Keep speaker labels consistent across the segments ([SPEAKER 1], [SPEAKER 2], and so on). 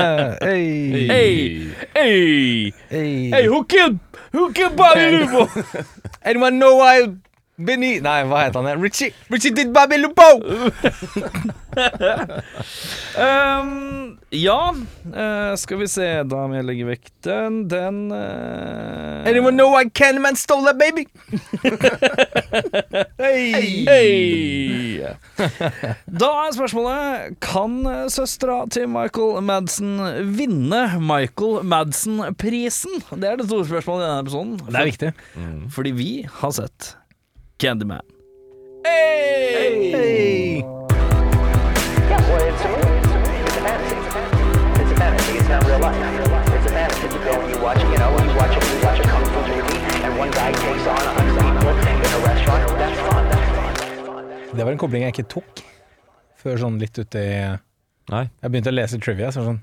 [SPEAKER 1] Hey,
[SPEAKER 2] Hey, hey,
[SPEAKER 1] hey.
[SPEAKER 2] hey, who killed, who killed Bobby Lupo?
[SPEAKER 1] Anyone know why Benny Nei, hva heter han? Richie. Richie did Bobby Lupo!
[SPEAKER 2] Ehm, ja, eh, skal vi se, da må jeg legge vekk den, den eh,
[SPEAKER 1] Anyone know why Candyman stole that baby? hey.
[SPEAKER 2] Hey! Da er spørsmålet Kan søstera til Michael Madsen vinne Michael Madsen-prisen? Det er det store spørsmålet i denne episoden.
[SPEAKER 1] Det er viktig.
[SPEAKER 2] Fordi vi har sett Candyman.
[SPEAKER 1] Hey.
[SPEAKER 3] Yeah, well, it's a movie. It's a fantasy. It's a fantasy. It's not real life. It's a fantasy. You go and you watch, you know, you watch a, you watch a kung fu movie, and one guy takes on a hundred people in a restaurant. That's fun. That's fun.
[SPEAKER 4] Det var en kobling jeg ikke tok før sånn litt ute i Jeg
[SPEAKER 5] Nei.
[SPEAKER 4] begynte å lese trivia, så var det sånn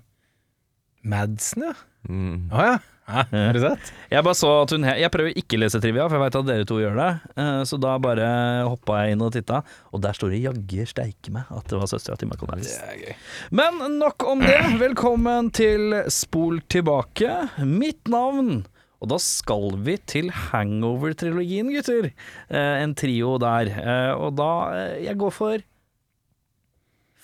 [SPEAKER 4] Madsen, ja.
[SPEAKER 5] Mm.
[SPEAKER 4] Å ja. Hæ, Har du sett?
[SPEAKER 2] Jeg bare så at hun Jeg prøver ikke å lese trivia, for jeg veit at dere to gjør det. Eh, Så da bare hoppa jeg inn og titta, og der står det jaggu steike meg at det var søstera til Michael Madsen. Men nok om det. Velkommen til Spol tilbake. Mitt navn. Og da skal vi til Hangover-trilogien, gutter. Eh, En trio der. Eh, Og da eh, Jeg går for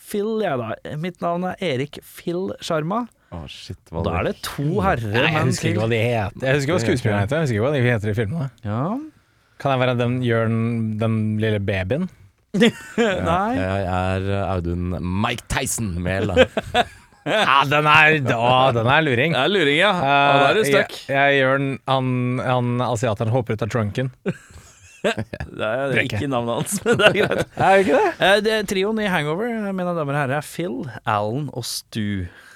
[SPEAKER 2] Phil, jeg, da. Mitt navn er Erik Phil Sharma.
[SPEAKER 5] Å, shit,
[SPEAKER 2] Og
[SPEAKER 5] hva
[SPEAKER 2] da er det to herrer
[SPEAKER 4] Nei, jeg
[SPEAKER 2] men
[SPEAKER 4] husker ikke hva de heter. Jeg husker hva skuespillerne heter. Jeg husker ikke hva de heter i filmene.
[SPEAKER 2] Ja.
[SPEAKER 4] Kan jeg være den gjør den, den lille babyen?
[SPEAKER 2] Nei.
[SPEAKER 5] Jeg er eh, Audun Mike Tyson Mehl, da.
[SPEAKER 4] Ja, den er, å, den er luring. Eh,
[SPEAKER 2] Det er luring, ja. Eh, ja da er du stuck.
[SPEAKER 4] Jeg, jeg gjør den han, han asiateren hopper ut av trunken.
[SPEAKER 2] Det er
[SPEAKER 4] Brekke.
[SPEAKER 2] ikke navnet hans, men det er greit.
[SPEAKER 4] Er det ikke det?
[SPEAKER 2] Eh, Det er Trioen i Hangover, mine damer og herrer, er Phil, Alan og Stu.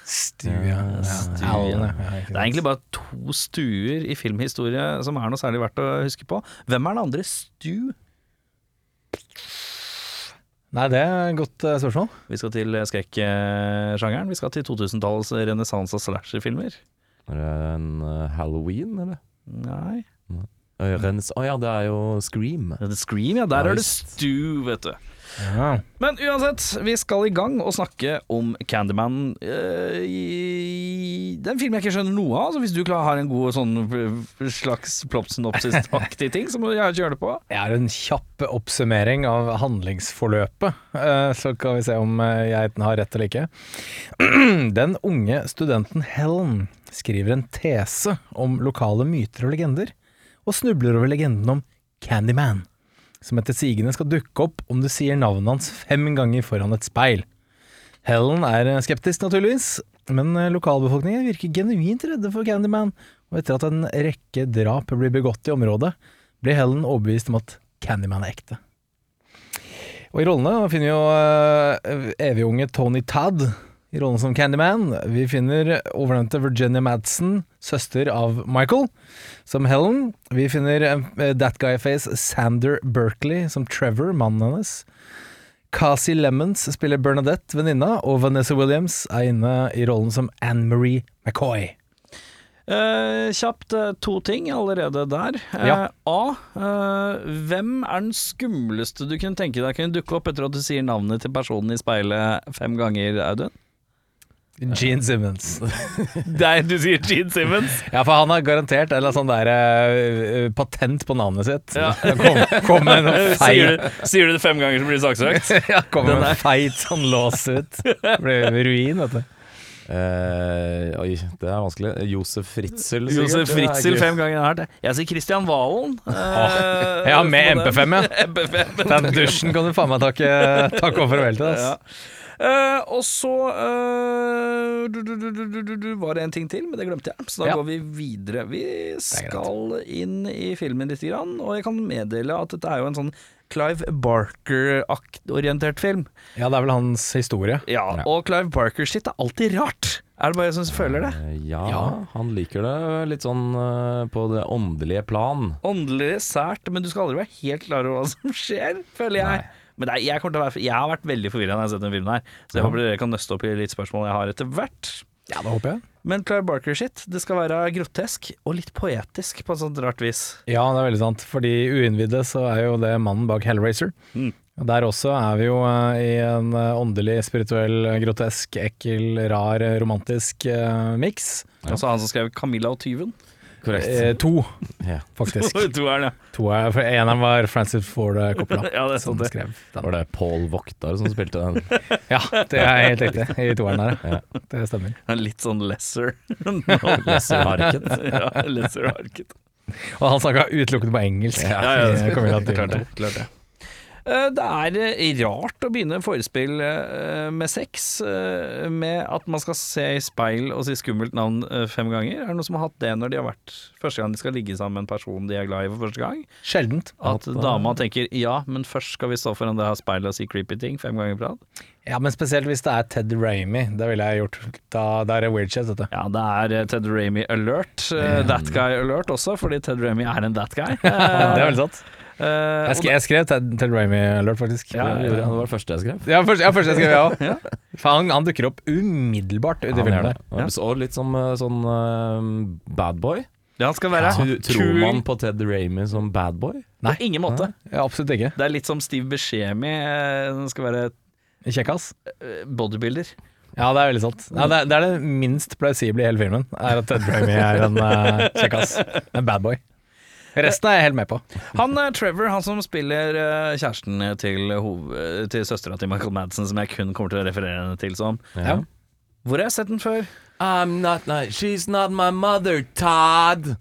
[SPEAKER 4] Stu, ja.
[SPEAKER 2] Stu, ja.
[SPEAKER 4] Alan, ja. Ja, ikke
[SPEAKER 2] Det er
[SPEAKER 4] sant.
[SPEAKER 2] egentlig bare to stuer i filmhistorie som er noe særlig verdt å huske på. Hvem er den andre Stu?
[SPEAKER 4] Nei, det er et godt eh, spørsmål.
[SPEAKER 2] Vi skal til skrekksjangeren. Vi skal til 2000-tallets renessanse av slasherfilmer.
[SPEAKER 5] Er det en eh, Halloween, eller?
[SPEAKER 2] Nei
[SPEAKER 5] Å ja, det er jo Scream.
[SPEAKER 2] The Scream, ja. Der
[SPEAKER 5] Ja,
[SPEAKER 2] er det
[SPEAKER 5] visst.
[SPEAKER 2] Stu, vet du.
[SPEAKER 4] Ja.
[SPEAKER 2] Men uansett, vi skal i gang og snakke om Candyman. eh, i- Det er en film jeg ikke skjønner noe av, så hvis du klar- har en god sånn eh, slags ploppsynopsis-aktig ting, så må jeg gjerne gjøre det på.
[SPEAKER 4] Jeg har en kjapp oppsummering av handlingsforløpet, eh, så kan vi se om eh, jeg har rett eller ikke. Den unge studenten Helen skriver en tese om lokale myter og legender, og snubler over legenden om Candyman, som etter sigende skal dukke opp om du sier navnet hans fem ganger foran et speil. Helen er eh, skeptisk, naturligvis, men eh, lokalbefolkningen virker genuint redde for Candyman, og etter at en rekke drap blir begått i området, blir Helen overbevist om at Candyman er ekte. Og I rollene finner vi jo eh, evigunge Tony Tad i rollen som Candyman. Vi finner overnevnte Virginia Madsen, søster av Michael, som Helen. Vi finner eh, That Guy-face Sander Berkley som Trevor, mannen hennes. Kasi Lemons spiller Bernadette, venninna, og Vanessa Williams er inne i rollen som Anne-Marie McCoy.
[SPEAKER 2] Eh, kjapt eh, to ting allerede der. Eh,
[SPEAKER 4] Ja.
[SPEAKER 2] A. eh, hvem er den skumleste du kunne tenke deg kunne dukke opp etter at du sier navnet til personen i speilet fem ganger, Audun?
[SPEAKER 4] Gene Simmons.
[SPEAKER 2] Nei, du sier Gene Simmons.
[SPEAKER 4] Ja, for han har garantert et eller annet sånn der eh, eh, patent på navnet sitt.
[SPEAKER 2] Ja.
[SPEAKER 4] Han Kom, kom med noe
[SPEAKER 2] Sier
[SPEAKER 4] feit,
[SPEAKER 2] du, sier du det fem ganger, så blir du saksøkt.
[SPEAKER 4] ja, kom med noe feit sånn lås ut. Det Blir ruin, vet du.
[SPEAKER 5] Eh, oi, det er vanskelig. Josef Fritzel. sikkert.
[SPEAKER 2] Josef
[SPEAKER 5] Det er
[SPEAKER 2] Fritzel
[SPEAKER 5] ikke-
[SPEAKER 2] fem ganger hardt. Jeg sier Christian Valen.
[SPEAKER 5] Ah.
[SPEAKER 2] Eh,
[SPEAKER 4] Ja, med MP5, ja.
[SPEAKER 2] MP5.
[SPEAKER 4] Den dusjen kan du faen meg takke, takke og farvel til.
[SPEAKER 2] Ja.
[SPEAKER 4] ass.
[SPEAKER 2] Eh, og så eh, du, du, du, du, du, du, du, var det en ting til, men det glemte jeg. Så da
[SPEAKER 4] Ja.
[SPEAKER 2] går vi videre. Vi skal inn i filmen lite grann, og jeg kan meddele at dette er jo en sånn Clive Barker-orientert film.
[SPEAKER 4] Ja, det er vel hans historie.
[SPEAKER 2] Ja, Og Clive Barker-shit er alltid rart. Er det bare jeg som føler det?
[SPEAKER 5] Eh, Ja, han liker det litt sånn eh, på det åndelige plan.
[SPEAKER 2] åndelig sært, men du skal aldri være helt klar over hva som skjer, føler jeg. Men det er, jeg, kommer til å være, jeg har vært veldig forvirra når jeg har sett den filmen her, så jeg håper dere kan nøste opp i litt spørsmål jeg har etter hvert.
[SPEAKER 4] Ja, det håper jeg.
[SPEAKER 2] Men Clive Barker-shit, det skal være grotesk og litt poetisk på et sånt rart vis. Mm.
[SPEAKER 4] Ja, det er veldig sant. For de uinnvidde så er jo det mannen bak Hellraiser. Der også er vi jo eh, i en eh, åndelig, spirituell, eh, grotesk, ekkel, rar, eh, romantisk eh, miks.
[SPEAKER 2] Altså han som skrev 'Camilla og tyven'.
[SPEAKER 5] Korrekt.
[SPEAKER 4] Eh, to,
[SPEAKER 5] Ja.
[SPEAKER 4] faktisk.
[SPEAKER 2] Tror jeg, ja.
[SPEAKER 4] To er, for eneren var Francis Ford Coppola.
[SPEAKER 2] Ja, det er sant,
[SPEAKER 4] som
[SPEAKER 2] det.
[SPEAKER 4] Sånn skrev den.
[SPEAKER 5] Var det Paul Voktar som spilte den?
[SPEAKER 4] Ja, det er helt riktig. I toeren her, ja. Det stemmer.
[SPEAKER 2] Han er Litt sånn lesser.
[SPEAKER 5] Lesser Harket?
[SPEAKER 2] ja, lesser harket.
[SPEAKER 4] Og han snakka utelukkende på engelsk.
[SPEAKER 2] Ja, ja,
[SPEAKER 4] i Camilla Dyne.
[SPEAKER 2] klart det. Klart det. Eh, Det er eh, rart å begynne forespill eh, med sex eh, med at man skal se i speil og si skummelt navn eh, fem ganger. Er det noen som har hatt det når de har vært første gang de skal ligge sammen med en person de er glad i for første gang?
[SPEAKER 4] Sjeldent.
[SPEAKER 2] At
[SPEAKER 5] At, eh,
[SPEAKER 2] dama tenker 'ja, men først skal vi stå foran det her speilet og si creepy ting' fem ganger på rad?
[SPEAKER 4] Ja, men spesielt hvis det er Ted Ramy. Det ville jeg gjort. Da, da er det weird shit, dette.
[SPEAKER 2] Ja, det er eh, Ted Ramy alert. eh, That guy alert også, fordi Ted Ramy er en that guy.
[SPEAKER 4] Det er veldig sant.
[SPEAKER 2] Eh,
[SPEAKER 4] Jeg, sk jeg skrev Ted, Ted Ramy-alert, faktisk.
[SPEAKER 2] Ja, ja,
[SPEAKER 5] Det var det første jeg skrev.
[SPEAKER 4] Ja, først, ja, først jeg skrev jeg òg. Han, han dukker opp umiddelbart uti
[SPEAKER 5] Han gjør
[SPEAKER 4] filmen.
[SPEAKER 5] det.
[SPEAKER 4] der.
[SPEAKER 2] Ja.
[SPEAKER 5] Og litt som eh, sånn eh, bad boy.
[SPEAKER 2] det han skal være
[SPEAKER 5] Tro- Tror
[SPEAKER 2] kul.
[SPEAKER 5] man på Ted Ramy som bad boy?
[SPEAKER 2] På ingen måte.
[SPEAKER 4] Ja, absolutt ikke.
[SPEAKER 2] Det er litt som Steve Buscemi eh, han skal være
[SPEAKER 4] Kjekkas.
[SPEAKER 2] eh, bodybuilder.
[SPEAKER 4] Ja, det er veldig sant. Ja, det, er, det er det minst plausible i hele filmen, er at Ted Ramy er en eh, kjekkas. En bad boy. Resten er jeg helt med på.
[SPEAKER 2] Han eh, Trevor, han som spiller eh, kjæresten til, hov- eh, til søstera til Michael Madsen, som jeg kun kommer til å referere henne til som.
[SPEAKER 5] Ja.
[SPEAKER 2] Hvor har jeg sett den før?
[SPEAKER 5] I'm not, nei, she's not my mother, Todd.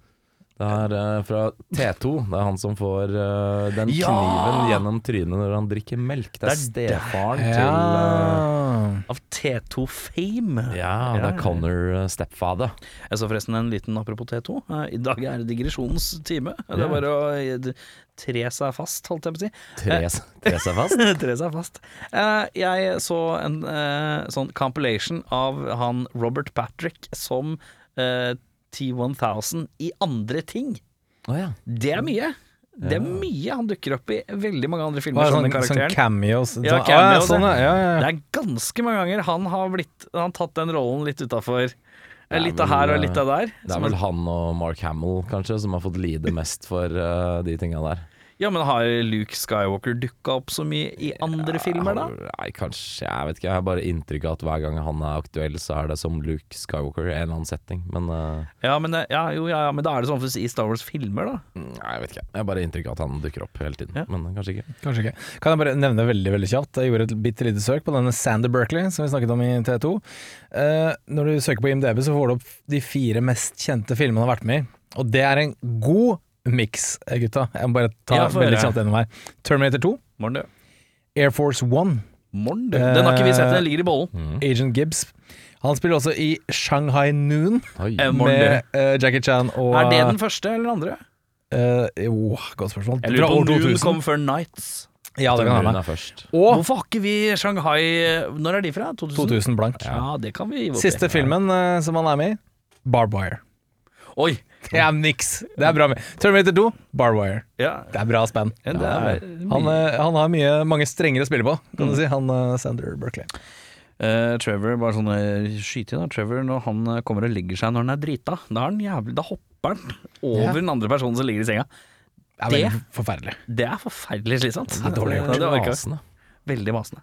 [SPEAKER 5] Det er eh, fra T2. Det er han som får eh, den
[SPEAKER 2] Ja!
[SPEAKER 5] kniven gjennom trynet når han drikker melk. Det
[SPEAKER 2] Det
[SPEAKER 5] er
[SPEAKER 2] er der.
[SPEAKER 5] stefaren til eh,
[SPEAKER 4] Ja.
[SPEAKER 2] Av T2 Fame.
[SPEAKER 5] Ja, det er Connor uh, stepfather.
[SPEAKER 2] Jeg så forresten en liten apropos T2. Eh, I dag er det digresjonens time. Det
[SPEAKER 5] Ja.
[SPEAKER 2] er bare å eh, d- tre seg fast, holdt jeg på å si.
[SPEAKER 5] Tre tre seg fast.
[SPEAKER 2] Tre seg fast. Eh, jeg så en eh, sånn compilation av han Robert Patrick som eh, T1000 i andre ting.
[SPEAKER 5] Å ja.
[SPEAKER 2] Det er mye. Det er mye han dukker opp i veldig mange andre
[SPEAKER 4] Og
[SPEAKER 2] filmer. som
[SPEAKER 4] sånn,
[SPEAKER 2] den
[SPEAKER 4] sånn
[SPEAKER 2] karakteren
[SPEAKER 4] cameos.
[SPEAKER 2] Ja,
[SPEAKER 4] sånn,
[SPEAKER 2] cameo,
[SPEAKER 4] ah, sånn,
[SPEAKER 2] det.
[SPEAKER 4] ja, ja,
[SPEAKER 2] Det
[SPEAKER 4] ja.
[SPEAKER 2] er ganske mange ganger han har blitt Han har tatt den rollen litt utafor.
[SPEAKER 5] Det er
[SPEAKER 2] Litt
[SPEAKER 5] vel,
[SPEAKER 2] av her og
[SPEAKER 5] eh,
[SPEAKER 2] litt av der.
[SPEAKER 5] Det er
[SPEAKER 2] Som
[SPEAKER 5] vel han og Mark Hamill kanskje som har fått lide mest for eh, de tinga der.
[SPEAKER 2] Ja, men har Luke Skywalker dukka opp så mye i andre filmer, da?
[SPEAKER 5] Nei, kanskje. Jeg vet ikke. Jeg har bare inntrykk av at hver gang han er aktuell, så er det som Luke Skywalker i en eller annen setting. Men eh,
[SPEAKER 2] Ja, men, det- ja, jo, ja, ja, men da er det sånn for å si i Star Wars-filmer, da.
[SPEAKER 5] Nei, jeg vet ikke. Jeg har bare inntrykk av at han dukker opp hele tiden.
[SPEAKER 2] Ja.
[SPEAKER 5] Men eh, kanskje ikke.
[SPEAKER 4] Kanskje ikke. Kan jeg bare nevne veldig veldig kjapt Jeg gjorde et bitte lite søk på denne Sander Berkeley som vi snakket om i T2. Eh, når du søker på IMDb, så får du opp de fire mest kjente filmene han har vært med i. Og det er en god miks, eh, gutta. Jeg må bare ta
[SPEAKER 2] Ja, få
[SPEAKER 4] veldig
[SPEAKER 2] høre.
[SPEAKER 4] kjapt gjennom her. Terminator 2,
[SPEAKER 2] Morn, du.
[SPEAKER 4] Air Force One,
[SPEAKER 2] Morn, du. Den har ikke vi sett, den ligger i bollen.
[SPEAKER 4] Agent Gibbs. Han spiller også i Shanghai Noon
[SPEAKER 5] Oi.
[SPEAKER 2] Eh, Morn,
[SPEAKER 4] med
[SPEAKER 2] du.
[SPEAKER 4] eh, Jackie Chan og
[SPEAKER 2] Er det den første eller den andre?
[SPEAKER 4] eh, jo, godt spørsmål.
[SPEAKER 2] Jeg lurer på om
[SPEAKER 4] Fra år
[SPEAKER 2] Noon
[SPEAKER 4] 2000.
[SPEAKER 2] kom før Nights.
[SPEAKER 4] Ja, det kan
[SPEAKER 5] Hun
[SPEAKER 4] hende.
[SPEAKER 5] er først.
[SPEAKER 4] Og
[SPEAKER 2] Hvorfor har ikke vi Shanghai eh, Når er de fra? 2000?
[SPEAKER 4] 2000 blank.
[SPEAKER 2] Ja, Mm. det kan vi gi opp i.
[SPEAKER 4] Siste filmen eh, som han er med i, Barb Wire.
[SPEAKER 2] Oi!
[SPEAKER 4] Det er niks. Det er bra med Terminator 2, Barwire.
[SPEAKER 2] Ja,
[SPEAKER 4] Det er bra spenn.
[SPEAKER 2] det er
[SPEAKER 4] Han, eh, han har mye, mange strenger å spille på, kan
[SPEAKER 2] Mm.
[SPEAKER 4] du si, han eh, Sander Berkeley.
[SPEAKER 2] Eh, Trevor, bare sånn eh, skyt inn da Trevor, når han eh, kommer og legger seg når han er drita, da, er han jævlig, da hopper han over den andre personen som ligger i senga.
[SPEAKER 4] Det er
[SPEAKER 2] Det?
[SPEAKER 4] veldig forferdelig.
[SPEAKER 2] Det er forferdelig slitsomt.
[SPEAKER 4] er dårlig gjort.
[SPEAKER 2] Ja, det orker jeg.
[SPEAKER 5] Rasende.
[SPEAKER 2] Veldig masende.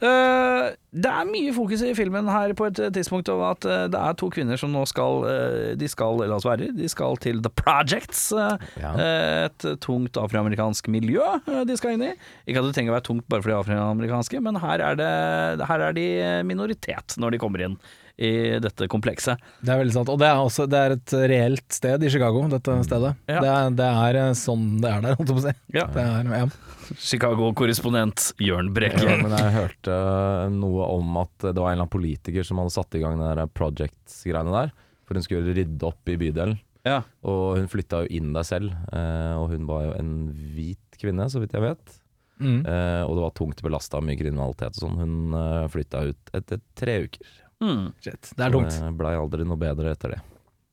[SPEAKER 2] Eh, det er mye fokus i filmen her på et eh, tidspunkt over at eh, det er to kvinner som nå skal eh, De skal, la oss være, de skal til The Projects. eh,
[SPEAKER 5] Ja.
[SPEAKER 2] eh, et tungt afroamerikansk miljø eh, de skal inn i. Ikke at det trenger å være tungt bare fordi de er afroamerikanske, men her er, det, her er de minoritet når de kommer inn i dette komplekset.
[SPEAKER 4] Det er veldig sant. Og det er, også, det er et reelt sted i Chicago, dette
[SPEAKER 2] Mm.
[SPEAKER 4] stedet.
[SPEAKER 2] Ja.
[SPEAKER 4] Det, er, det er eh, sånn det er der, holdt jeg på å si.
[SPEAKER 2] Ja.
[SPEAKER 4] Det er, ja.
[SPEAKER 2] Chicago-korrespondent Jørn Brekke.
[SPEAKER 5] Ja, men jeg hørte eh, noe om at det var en eller annen politiker som hadde satt i gang den der Projects-greiene der. For hun skulle rydde opp i bydelen.
[SPEAKER 2] Ja.
[SPEAKER 5] Og hun flytta jo inn der selv. eh, Og hun var jo en hvit kvinne, så vidt jeg vet.
[SPEAKER 4] Mm.
[SPEAKER 5] Eh, Og det var tungt belasta av mye kriminalitet og sånn. Hun eh, flytta ut etter tre uker.
[SPEAKER 2] Mm.
[SPEAKER 4] Shit. Det er tungt.
[SPEAKER 5] Blei aldri noe bedre etter det.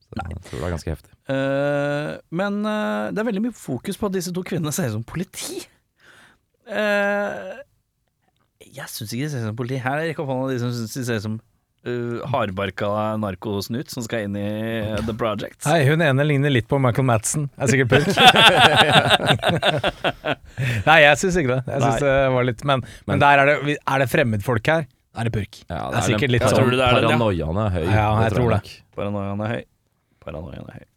[SPEAKER 5] Så jeg tror det er ganske heftig.
[SPEAKER 2] Eh, men eh, det er veldig mye fokus på at disse to kvinnene ser ut som politi. Eh, jeg syns ikke de ser ut som politi. Her er rekk opp hånda de som syns de ser ut som uh, hardbarka narkosnut som skal inn i eh, The Project.
[SPEAKER 4] Hei, hun ene ligner litt på Michael Madsen. Er sikkert pulk. Nei, jeg syns ikke det. Jeg synes det var litt, men, men der er det, er det fremmedfolk her, er det purk.
[SPEAKER 5] Ja,
[SPEAKER 4] det er sikkert litt
[SPEAKER 5] jeg
[SPEAKER 4] sånn
[SPEAKER 5] tror det er den,
[SPEAKER 2] ja.
[SPEAKER 5] Paranoiaen er høy.
[SPEAKER 4] Ja, jeg tror det.
[SPEAKER 5] nok.
[SPEAKER 2] Paranoiaen er høy. Paranoiaen er høy.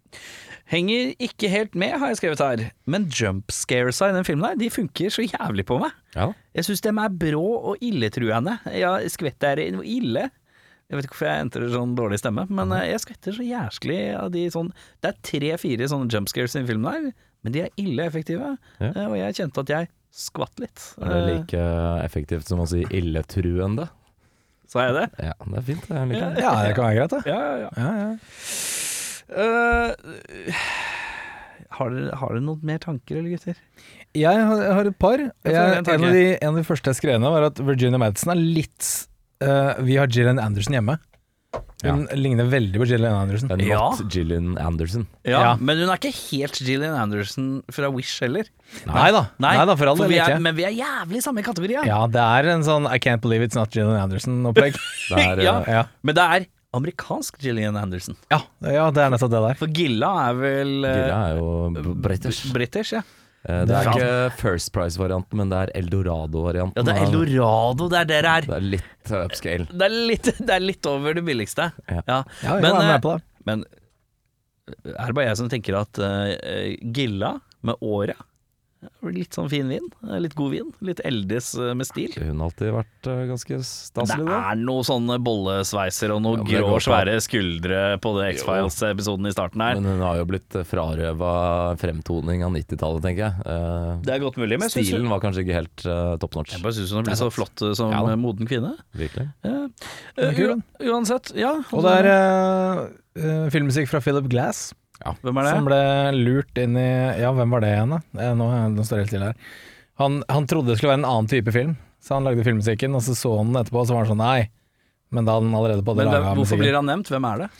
[SPEAKER 2] Henger ikke helt med, har jeg skrevet her, men jump scaresa i den filmen her, de funker så jævlig på meg.
[SPEAKER 5] Ja.
[SPEAKER 2] Jeg syns dem er brå og illetruende. Ja, skvetter er noe ille. Jeg vet ikke hvorfor jeg entrer sånn dårlig stemme, men
[SPEAKER 4] Mhm.
[SPEAKER 2] eh, jeg skvetter så jæsklig av de sånn Det er tre-fire sånne jump scares i den filmen her, men de er ille effektive.
[SPEAKER 5] Ja.
[SPEAKER 2] Eh, Og jeg kjente at jeg skvatt litt.
[SPEAKER 5] Er det
[SPEAKER 2] Eh,
[SPEAKER 5] like effektivt som å si illetruende?
[SPEAKER 2] Sa jeg det?
[SPEAKER 5] Ja, det Eh, er fint. Jeg liker det.
[SPEAKER 4] Ja, det kan være greit, det.
[SPEAKER 2] Ja, ja, ja.
[SPEAKER 4] Ja, ja.
[SPEAKER 2] Eh, har, dere, har dere noen mer tanker, eller gutter?
[SPEAKER 4] Jeg har, jeg har et par.
[SPEAKER 2] får
[SPEAKER 4] Jeg,
[SPEAKER 2] en
[SPEAKER 4] en,
[SPEAKER 2] tanke.
[SPEAKER 4] av de, en av de første jeg skrev ned, var at Virginia Madsen er litt eh, Vi har Gillian Anderson hjemme. Hun ligner veldig på Gillian Anderson.
[SPEAKER 5] Men
[SPEAKER 2] Ja.
[SPEAKER 5] not Gillian Anderson.
[SPEAKER 2] Ja,
[SPEAKER 4] Ja.
[SPEAKER 2] Men hun er ikke helt Gillian Anderson fra Wish heller.
[SPEAKER 4] Nei da, nei, da for all del
[SPEAKER 2] vi er,
[SPEAKER 4] ikke.
[SPEAKER 2] Men vi er jævlig samme kategori.
[SPEAKER 4] Ja, det er en sånn I can't believe it's not Gillian Anderson-opplegg.
[SPEAKER 5] Det er, eh,
[SPEAKER 2] Ja.
[SPEAKER 4] ja.
[SPEAKER 2] Men det er amerikansk Gillian Anderson.
[SPEAKER 4] Ja, ja, det er nettopp det der.
[SPEAKER 2] For Gilla er vel eh,
[SPEAKER 5] Gilla er jo b- british.
[SPEAKER 2] b- British, ja.
[SPEAKER 5] Eh, Det er
[SPEAKER 2] Faen.
[SPEAKER 5] ikke First Price-varianten, men det er Eldorado-varianten.
[SPEAKER 2] ja. Det er Eldorado det er der det er.
[SPEAKER 5] Det er litt eh, upscale.
[SPEAKER 2] Det er litt, det er litt over det billigste.
[SPEAKER 5] Ja.
[SPEAKER 4] Ja, jeg
[SPEAKER 2] Men,
[SPEAKER 4] er
[SPEAKER 2] eh,
[SPEAKER 4] med på det.
[SPEAKER 2] Men er det bare jeg som tenker at eh, Gilla med åra blir litt sånn fin vin? eh, Litt god vin? Litt eldes eh, med stil?
[SPEAKER 5] Hun har alltid vært eh, ganske
[SPEAKER 2] Det
[SPEAKER 5] staselig, da.
[SPEAKER 2] er noen sånne bollesveiser og noen
[SPEAKER 5] Ja, men det
[SPEAKER 2] grå,
[SPEAKER 5] går på-
[SPEAKER 2] svære skuldre på det X-Files-episoden i starten her.
[SPEAKER 5] Men hun har jo blitt eh, frarøva fremtoning av 90-tallet, tenker jeg. Eh,
[SPEAKER 2] Det er godt mulig, men jeg
[SPEAKER 5] Stilen
[SPEAKER 2] syns
[SPEAKER 5] var kanskje ikke helt eh, top notch.
[SPEAKER 2] jeg bare syns hun blir så flott eh, som
[SPEAKER 5] Ja da.
[SPEAKER 2] eh, moden kvinne.
[SPEAKER 5] Virkelig.
[SPEAKER 2] Ja.
[SPEAKER 4] er kul,
[SPEAKER 2] Eh, u- uansett, ja.
[SPEAKER 4] Og det er eh, eh, filmmusikk fra Philip Glass,
[SPEAKER 2] Hvem er
[SPEAKER 4] som
[SPEAKER 2] det?
[SPEAKER 4] ble lurt inn i Ja, hvem var det igjen, da? Eh, Nå, nå står det helt stille her. Han, han trodde det skulle være en annen type film, så han lagde filmmusikken, og så så han den etterpå, og så var han sånn nei. Men da hadde han allerede på det
[SPEAKER 2] Men hvem,
[SPEAKER 4] laga
[SPEAKER 2] hvorfor blir
[SPEAKER 4] musikken.
[SPEAKER 2] han nevnt? Hvem er det?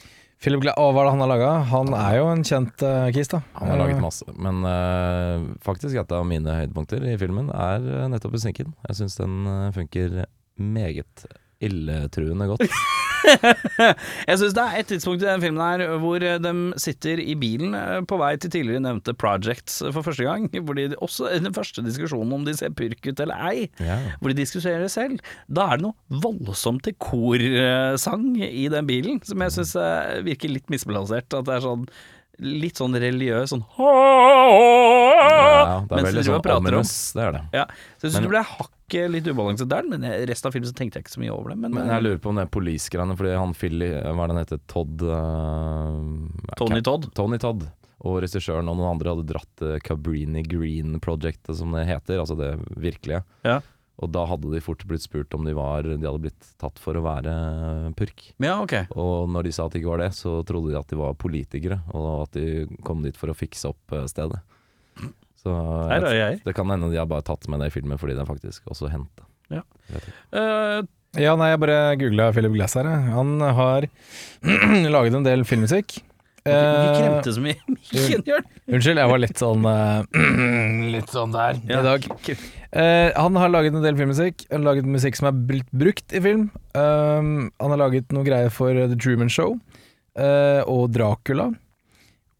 [SPEAKER 4] Philip Glass, og hva er det han har laga? Han er jo en kjent uh, kis, da.
[SPEAKER 5] Han har laget masse. Men eh, faktisk et av mine høydepunkter i filmen er eh, nettopp musikken. Jeg syns den eh, funker meget illetruende godt.
[SPEAKER 2] Jeg syns det er et tidspunkt i den filmen her hvor eh, de sitter i bilen eh, på vei til tidligere nevnte Projects eh, for første gang. Hvor de også i den første diskusjonen om de ser purk ut eller ei,
[SPEAKER 5] Ja.
[SPEAKER 2] hvor de diskuterer det selv. Da er det noe voldsomt til korsang eh, i den bilen, som jeg syns virker litt misbalansert. At det er sånn litt sånn religiøs sånn
[SPEAKER 5] Ja, det er
[SPEAKER 2] Mens de driver
[SPEAKER 5] veldig
[SPEAKER 2] og
[SPEAKER 5] sånn
[SPEAKER 2] prater om-
[SPEAKER 5] ominous, det er det.
[SPEAKER 2] Ja, så jeg syns
[SPEAKER 5] Men-
[SPEAKER 2] det ble hakket litt ubalanset der, men i resten av filmen så tenkte jeg ikke så mye over det. Men,
[SPEAKER 5] Men jeg lurer på om det er polisgreiene, fordi han Philly, eh, hva er det han heter, Todd eh,
[SPEAKER 2] Tony Todd.
[SPEAKER 5] Tony Todd og regissøren og noen andre hadde dratt eh, Cabrini Green Project, som det heter, altså det virkelige.
[SPEAKER 2] Ja.
[SPEAKER 5] Og da hadde de fort blitt spurt om de var De hadde blitt tatt for å være purk.
[SPEAKER 2] Ja, ok.
[SPEAKER 5] Og når de sa at de ikke var det, så trodde de at de var politikere, og at de kom dit for å fikse opp eh, stedet. Så eh,
[SPEAKER 2] Her er jeg.
[SPEAKER 5] det kan hende de har bare tatt med det i filmen fordi den faktisk også hendte.
[SPEAKER 2] Eh,
[SPEAKER 4] Ja, nei, jeg bare googla Philip Glass her. jeg. Han har laget en del filmmusikk.
[SPEAKER 2] vi
[SPEAKER 4] Eh,
[SPEAKER 2] kremte så mye i mikken, Jørn.
[SPEAKER 4] Unnskyld, jeg var litt sånn eh, Litt sånn der i dag.
[SPEAKER 2] kult.
[SPEAKER 4] Eh, han har laget en del filmmusikk. Han har laget musikk som er blitt brukt i film. Um, han har laget noe greier for The Truman Show eh, og Dracula.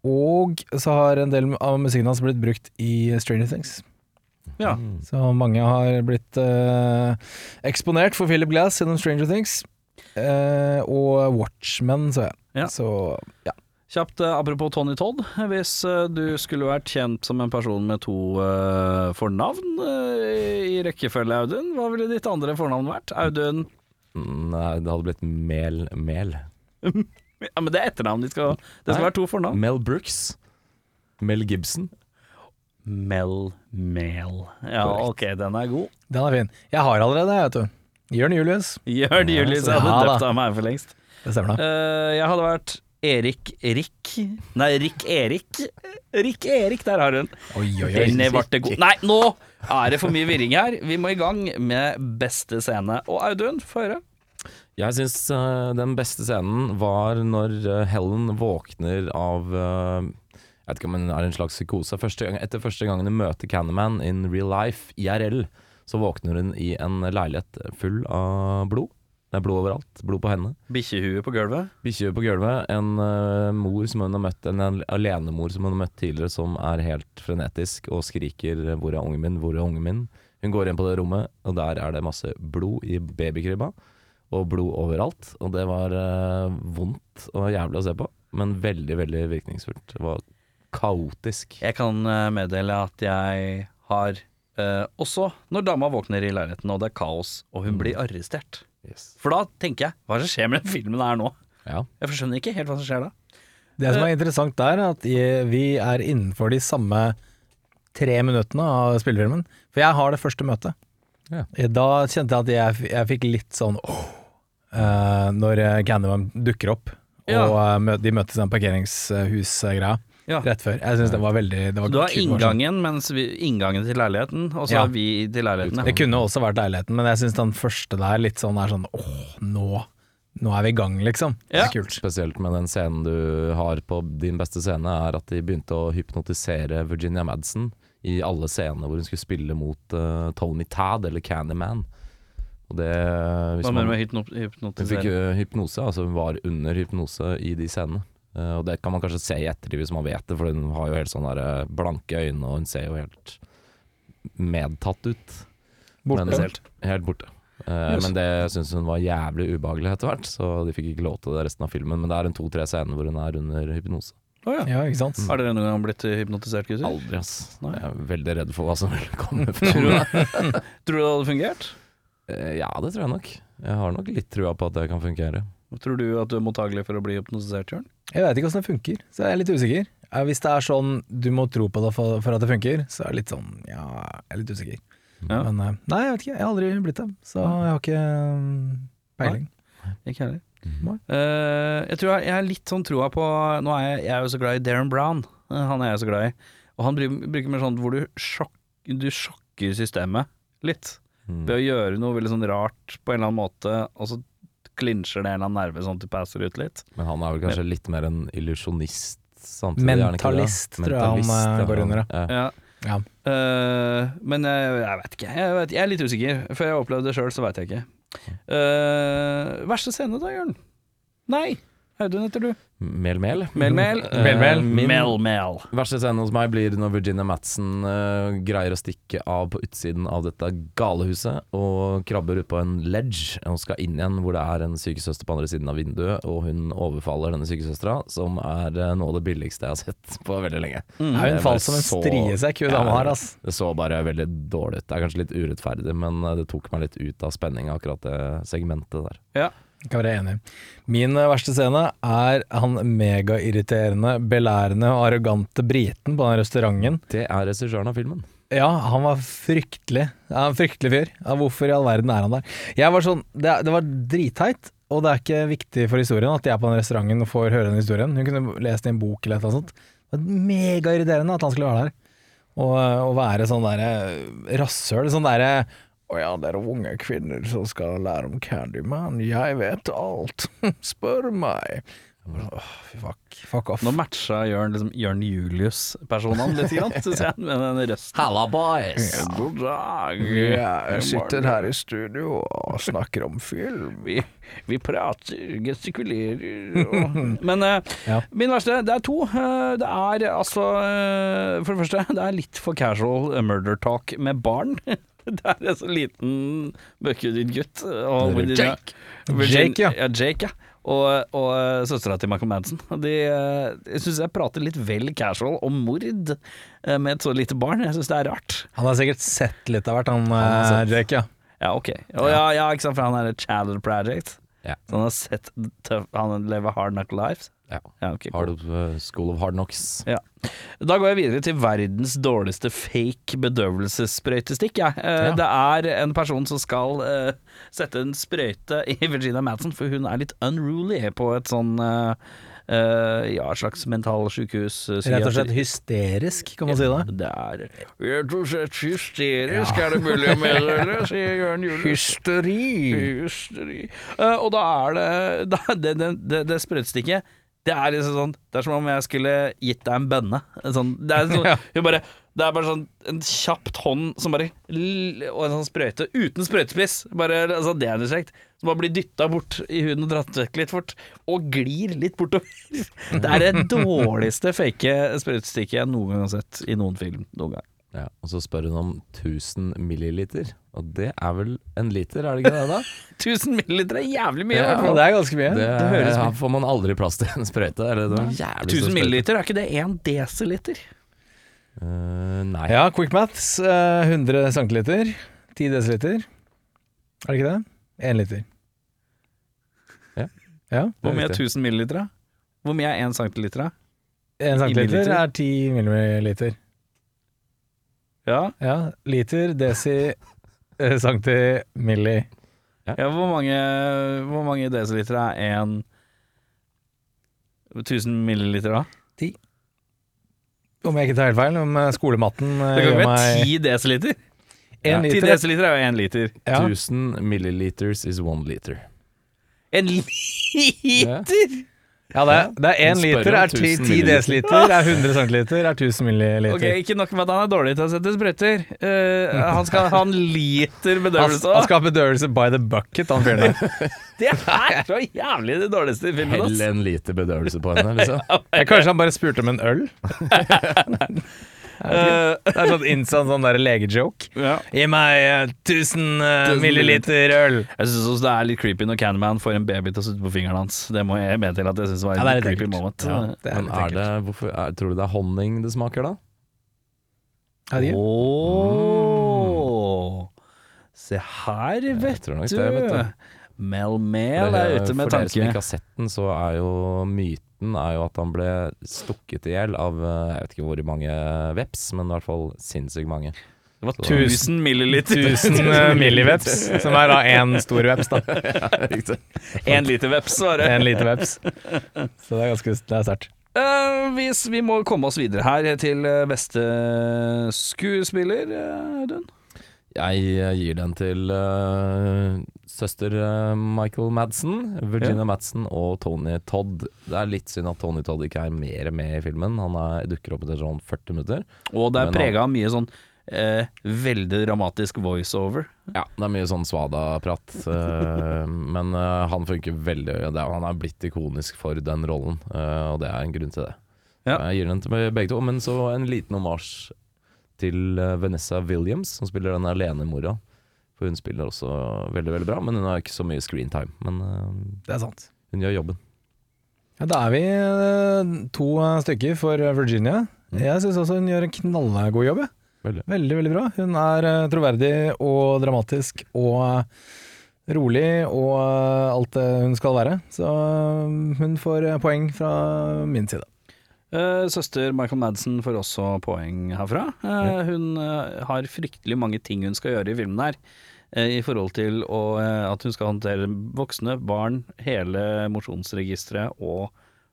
[SPEAKER 4] Og så har en del av musikken hans blitt brukt i Stranger Things.
[SPEAKER 2] Ja.
[SPEAKER 4] Så mange har blitt eh, eksponert for Philip Glass gjennom Stranger Things. Eh, og Watchmen, så jeg.
[SPEAKER 2] Ja.
[SPEAKER 4] Så ja.
[SPEAKER 2] Kjapt eh, apropos Tony Todd. Hvis eh, du skulle vært kjent som en person med to eh, fornavn eh, i rekkefølge, Audun, hva ville ditt andre fornavn vært? Audun
[SPEAKER 5] Nei, det hadde blitt Mel Mel.
[SPEAKER 2] Ja, men det er etternavn. De skal, det skal
[SPEAKER 5] Nei.
[SPEAKER 2] være to fornavn.
[SPEAKER 5] Mel Brooks. Mel Gibson.
[SPEAKER 2] Mel Mel. Ja, ok, den er god.
[SPEAKER 4] Den er fin. Jeg har allerede, jeg, vet du. Jørn Julius.
[SPEAKER 2] Jørn Julius hadde
[SPEAKER 4] Ja, da.
[SPEAKER 2] døpt av meg for lengst.
[SPEAKER 4] Det stemmer, da.
[SPEAKER 2] Eh, jeg hadde vært Erik Rick Nei, Rick Erik. Rick Erik, der har hun.
[SPEAKER 4] Oi, oi,
[SPEAKER 2] Den ble det god. Nei, nå er det for mye virring her. Vi må i gang med beste scene. Og Audun, få høre.
[SPEAKER 5] Jeg syns eh, den beste scenen var når eh, Helen våkner av eh, Jeg vet ikke om hun er en slags psykose. Første gang, etter første gangen hun møter Candyman in real life, IRL, så våkner hun i en leilighet full av blod. Det er blod overalt. Blod på henne.
[SPEAKER 2] Bikkjehue på gulvet.
[SPEAKER 5] Bikkje på gulvet. En eh, mor som hun har møtt En al- alenemor som hun har møtt tidligere, som er helt frenetisk og skriker 'Hvor er ungen min? Hvor er ungen min?' Hun går inn på det rommet, og der er det masse blod i babykrybba. Og blod overalt. Og det var eh, vondt og jævlig å se på, men veldig, veldig virkningsfullt. Det var kaotisk.
[SPEAKER 2] Jeg kan eh, meddele at jeg har eh, også når dama våkner i leiligheten og det er kaos, og hun blir arrestert.
[SPEAKER 5] Yes.
[SPEAKER 2] For da tenker jeg hva er det som skjer med den filmen her nå?
[SPEAKER 5] Ja.
[SPEAKER 2] Jeg skjønner ikke helt hva som skjer da.
[SPEAKER 4] Det som er interessant der, er at i- vi er innenfor de samme tre minuttene av spillefilmen. For jeg har det første møtet.
[SPEAKER 5] Ja.
[SPEAKER 4] Da kjente jeg at jeg, f- jeg fikk litt sånn åh, eh, når eh, Candyman dukker opp.
[SPEAKER 2] Ja.
[SPEAKER 4] Og eh, mø- de møtes i den parkeringshusgreia
[SPEAKER 2] Ja.
[SPEAKER 4] rett før. Jeg syns det var veldig det var
[SPEAKER 2] Du har
[SPEAKER 4] kult å være sånn.
[SPEAKER 2] inngangen, mens vi, inngangen til leiligheten, og så
[SPEAKER 4] Ja.
[SPEAKER 2] har vi til
[SPEAKER 4] Det
[SPEAKER 2] leilighetene.
[SPEAKER 4] kunne også vært leiligheten, men jeg syns den første der litt sånn er sånn åh, nå, nå er vi i gang, liksom. Det
[SPEAKER 2] Ja.
[SPEAKER 4] er kult.
[SPEAKER 5] Spesielt med den scenen du har på din beste scene, er at de begynte å hypnotisere Virginia Madsen i alle scenene hvor hun skulle spille mot eh, Tony Tad eller Candyman. Og det hvis
[SPEAKER 2] Hva
[SPEAKER 5] man-
[SPEAKER 2] mener du med hypno-
[SPEAKER 5] Hun fikk
[SPEAKER 2] hypnotisering?
[SPEAKER 5] eh, hypnose, altså hun var under hypnose i de scenene. Eh, og det kan man kanskje se i ettertid hvis man vet det, for hun har jo helt sånne der, eh, blanke øyne, og hun ser jo helt medtatt ut.
[SPEAKER 4] Borte.
[SPEAKER 5] Men- Helt borte. Eh, Men det syns hun var jævlig ubehagelig etter hvert, så de fikk ikke lov til det resten av filmen. Men det er en to-tre scener hvor hun er under hypnose.
[SPEAKER 4] Ja, ikke sant.
[SPEAKER 2] Har dere noen gang blitt hypnotisert, gutter?
[SPEAKER 5] Aldri, ass.
[SPEAKER 2] Nei.
[SPEAKER 5] Jeg er veldig redd for hva som vil komme frem.
[SPEAKER 2] Tror du det hadde fungert?
[SPEAKER 5] Eh, ja, det tror jeg nok. Jeg har nok litt trua på at det kan fungere.
[SPEAKER 2] Tror du at du er mottagelig for å bli hypnotisert, Jørn?
[SPEAKER 4] Jeg veit ikke åssen det funker, så jeg er litt usikker. Eh, Hvis det er sånn du må tro på det for, for at det funker, så er det litt sånn ja, jeg er litt usikker.
[SPEAKER 2] Ja.
[SPEAKER 4] Men eh, nei, jeg vet ikke. Jeg har aldri blitt det, så jeg har ikke mm, peiling.
[SPEAKER 2] Ikke heller.
[SPEAKER 5] Mhm.
[SPEAKER 4] Nei.
[SPEAKER 2] Eh, jeg tror jeg, jeg har litt sånn troa på Nå er jeg, jeg er jo så glad i Darren Brown. Eh, Han er jeg så glad i. Og han driver, bruker mer sånn hvor du, sjokk, du sjokker systemet litt.
[SPEAKER 5] Mm.
[SPEAKER 2] Ved å gjøre noe veldig sånn rart på en eller annen måte, og så klinsjer det en eller annen nerve sånn at du passer ut litt.
[SPEAKER 5] Men han er vel kanskje litt mer en illusjonist samtidig. er han ikke det?
[SPEAKER 4] Mentalist, tror jeg han,
[SPEAKER 5] Mentalist,
[SPEAKER 4] eh, går under, ja.
[SPEAKER 5] ja.
[SPEAKER 2] Ja.
[SPEAKER 4] Ja.
[SPEAKER 2] Eh, men jeg, jeg vet ikke. Jeg, vet, jeg er litt usikker. Før jeg har opplevd det sjøl, så veit jeg ikke. Eh, verste scene da, Jørn? Nei. Audun heter du.
[SPEAKER 5] Mel-mel.
[SPEAKER 2] Mel-mel.
[SPEAKER 5] Eh, min-
[SPEAKER 2] Mel-mel.
[SPEAKER 5] Verste scenen hos meg blir når Virginia Madsen eh, greier å stikke av på utsiden av dette galehuset og krabber ut på en ledge og skal inn igjen hvor det er en sykesøster på andre siden av vinduet, og hun overfaller denne sykesøstera, som er eh, noe av det billigste jeg har sett på veldig lenge.
[SPEAKER 4] Ja,
[SPEAKER 5] Det
[SPEAKER 4] hun
[SPEAKER 5] er bare
[SPEAKER 4] falt som en
[SPEAKER 5] så-
[SPEAKER 4] striesekk, hun
[SPEAKER 5] Ja,
[SPEAKER 4] dama her, ass.
[SPEAKER 5] Det så bare veldig dårlig ut. Det er kanskje litt urettferdig, men eh, det tok meg litt ut av spenninga, akkurat det segmentet der.
[SPEAKER 4] Kan være enig. Min eh, verste scene er han megairriterende, belærende og arrogante briten på den restauranten.
[SPEAKER 5] Det er regissøren av filmen.
[SPEAKER 4] Ja, han var fryktelig. Ja, en fryktelig fyr. Ja, hvorfor i all verden er han der? Jeg var sånn, det, det var dritteit, og det er ikke viktig for historien at jeg er på den restauranten og får høre den historien. Hun kunne lest i en bok eller et eller annet sånt. Det var megairriterende at han skulle være der. Og, og være sånn derre rasshøl. Sånn derre Å ja, dere unge kvinner som skal lære om Candyman. Jeg vet alt. Spør meg. Jeg var sånn, Åh, fy fuck. Fuck off.
[SPEAKER 2] Nå matcha Jørn liksom Jørn Julius-personene litt, grann, synes jeg, med den røsten.
[SPEAKER 5] Halla, boys!
[SPEAKER 2] God dag.
[SPEAKER 4] Jeg sitter her i studio og snakker om film.
[SPEAKER 2] Vi, vi prater, gestikulerer og Men eh,
[SPEAKER 4] Ja.
[SPEAKER 2] min verste, det er to. Eh, det er altså eh, For det første, det er litt for casual murder talk med barn. Det er en sånn liten bøkkehudet gutt. eh, Og Virginia- Virgin-
[SPEAKER 4] Jake, ja.
[SPEAKER 2] ja. Jake, ja. Og, og eh, søstera til Michael Madsen. De, eh, jeg syns jeg prater litt vel casual om mord eh, med et så lite barn. Jeg syns det er rart.
[SPEAKER 4] Han har sikkert sett litt av hvert, han,
[SPEAKER 5] har
[SPEAKER 4] eh, Jake. Ja.
[SPEAKER 2] Ja, ok. Og ja, ja ikke sant, for han er et Chandler Project.
[SPEAKER 5] Ja.
[SPEAKER 2] Så han har sett tøff, Han lever hard knuck lives.
[SPEAKER 5] Ja.
[SPEAKER 2] Ja, ok, cool.
[SPEAKER 5] Hard, eh, School of Hard Knocks.
[SPEAKER 2] ja. Da går jeg videre til verdens dårligste fake bedøvelsessprøytestikk. jeg. Eh,
[SPEAKER 5] Ja.
[SPEAKER 2] Det er en person som skal eh, sette en sprøyte i Virginia Madsen, for hun er litt unruly på et sånn eh, eh, ja, slags mentalsykehus. eh,
[SPEAKER 4] Rett
[SPEAKER 2] psykiatri-
[SPEAKER 4] og slett hysterisk, kan man si det.
[SPEAKER 2] Det er Rett og slett hysterisk, er det mulig å meddele, sier Jørn Julius.
[SPEAKER 4] Hysteri!
[SPEAKER 2] Hysteri. Eh, og da er det da, det, det, det, det sprøytestikket Det er liksom sånn Det er som om jeg skulle gitt deg en bønne. Sånn, det, er sånn, hun bare, det er bare sånn en kjapt hånd som bare l- Og en sånn sprøyte uten sprøytespiss. Bare altså, Det er en insekt. Som bare blir dytta bort i huden og dratt vekk litt fort. Og glir litt bortover. Det er det dårligste fake sprøytestikket jeg noen gang har sett i noen film. Noen gang.
[SPEAKER 5] Ja, og så spør hun om 1000 milliliter. Og det er vel en liter, er det ikke det, da?
[SPEAKER 2] 1000 milliliter er jævlig mye. i
[SPEAKER 5] Ja,
[SPEAKER 2] hvert
[SPEAKER 4] Ja,
[SPEAKER 2] fall.
[SPEAKER 4] det er ganske mye.
[SPEAKER 5] Det,
[SPEAKER 2] høres
[SPEAKER 5] ja, får man aldri plass til en sprøyte. Eller det var en jævlig stor
[SPEAKER 2] 1000
[SPEAKER 5] sprøyte.
[SPEAKER 2] milliliter, er ikke det én desiliter?
[SPEAKER 5] Eh, nei.
[SPEAKER 4] Ja, quick maths. eh, 100 cm. 10 dl. Er det ikke det? 1 liter.
[SPEAKER 5] Ja.
[SPEAKER 4] ja.
[SPEAKER 2] Hvor mye er
[SPEAKER 5] riktig.
[SPEAKER 2] 1000 milliliter? da? Hvor mye er 1 centiliter? da?
[SPEAKER 4] 1
[SPEAKER 2] milliliter?
[SPEAKER 4] cm er 10 milliliter.
[SPEAKER 2] Ja.
[SPEAKER 4] Ja. Liter, desi, eh, centi, milli.
[SPEAKER 2] ja hvor, mange, hvor mange desiliter er 1 1000 milliliter, da?
[SPEAKER 4] Om jeg ikke tar helt feil, om eh, skolematten eh,
[SPEAKER 2] Det kan
[SPEAKER 4] gjør
[SPEAKER 2] ikke være
[SPEAKER 4] meg
[SPEAKER 2] 10 desiliter? 10
[SPEAKER 4] 1 liter.
[SPEAKER 2] desiliter er jo 1 liter.
[SPEAKER 4] Ja.
[SPEAKER 5] 1000 milliliters is one liter.
[SPEAKER 2] 1 liter?!
[SPEAKER 4] Ja, det, er- det er 1
[SPEAKER 5] Hun spør
[SPEAKER 4] liter
[SPEAKER 5] om
[SPEAKER 4] er 10
[SPEAKER 5] 1000
[SPEAKER 4] dl, er 100 cm, er 1000 milliliter.
[SPEAKER 2] Ok, Ikke nok med at han er dårlig til å sette sprøyter. Eh, han skal ha en liter
[SPEAKER 4] Han,
[SPEAKER 2] bedøvelse
[SPEAKER 4] han
[SPEAKER 2] òg.
[SPEAKER 4] skal ha bedøvelse by the bucket, han fyren der.
[SPEAKER 2] Det er så jævlig det dårligste i filmen.
[SPEAKER 5] Hell
[SPEAKER 2] ass.
[SPEAKER 5] en liter bedøvelse på henne, liksom.
[SPEAKER 4] Ja, Kanskje han bare spurte om en øl? Det er sånn instant sånn der legejoke.
[SPEAKER 2] Eh, ja.
[SPEAKER 4] Gi meg eh, 1000 eh,
[SPEAKER 2] Tusen
[SPEAKER 4] milliliter øl.
[SPEAKER 2] Jeg syns også det er litt creepy når Candyman får en baby til å sutte på fingeren hans. Det må jeg med til at jeg syns var en
[SPEAKER 4] Ja, det er litt
[SPEAKER 2] creepy
[SPEAKER 4] ekkelt.
[SPEAKER 2] moment.
[SPEAKER 4] Ja, det er
[SPEAKER 5] Men er det,
[SPEAKER 4] litt ekkelt.
[SPEAKER 5] hvorfor, er, tror du det er honning det smaker, da?
[SPEAKER 4] Er det ikke?
[SPEAKER 2] Åh. Se her, vet
[SPEAKER 5] tror nok
[SPEAKER 2] du.
[SPEAKER 5] det, vet du. Eh,
[SPEAKER 2] Mel Mel er ute med
[SPEAKER 5] for dere som
[SPEAKER 2] tanke.
[SPEAKER 5] ikke har sett den, så er jo myten er jo at han ble stukket i hjel av eh, jeg vet ikke hvor mange veps, men i hvert fall sinnssykt mange.
[SPEAKER 2] Det var
[SPEAKER 5] Tusen-
[SPEAKER 2] 1000 milliliter.
[SPEAKER 4] 1000 eh, milliveps, som er da én stor veps, da.
[SPEAKER 2] Én liter veps, var det.
[SPEAKER 4] En liten veps. Så det er ganske det er sterkt.
[SPEAKER 2] Eh, vi, s- vi må komme oss videre her til eh, beste skuespiller, eh, Audun.
[SPEAKER 5] Jeg eh, gir den til eh, søster eh, Michael Madsen, Virginia Madsen og Tony Todd. Det er litt synd at Tony Todd ikke er mer med i filmen. Han er, dukker opp etter sånn 40 minutter.
[SPEAKER 2] Og det er
[SPEAKER 5] Men han-
[SPEAKER 2] prega av mye sånn eh, veldig dramatisk voiceover.
[SPEAKER 5] Ja, det er mye sånn svada-prat, eh, men eh, han funker veldig det, er- Han er blitt ikonisk for den rollen, eh, og det er en grunn til det.
[SPEAKER 2] Ja.
[SPEAKER 5] Jeg gir den til begge to, men så en liten omarsj til eh, Vanessa Williams, som spiller den alenemora. For hun spiller også veldig veldig bra, men hun har ikke så mye screentime. Men eh,
[SPEAKER 4] Det er sant.
[SPEAKER 5] hun gjør jobben.
[SPEAKER 4] Ja, da er vi eh, to eh, stykker for eh, Virginia. Jeg syns også hun gjør en knallgod jobb. jeg.
[SPEAKER 5] Veldig.
[SPEAKER 4] Veldig, veldig bra. Hun er eh, troverdig og dramatisk og eh, rolig og eh, alt det hun skal være. Så eh, hun får eh, poeng fra min side.
[SPEAKER 2] Eh, søster Michael Madsen får også poeng herfra. Eh, Hun eh, har fryktelig mange ting hun skal gjøre i filmen her. eh, I forhold til å, eh, at hun skal håndtere voksne, barn, hele mosjonsregisteret og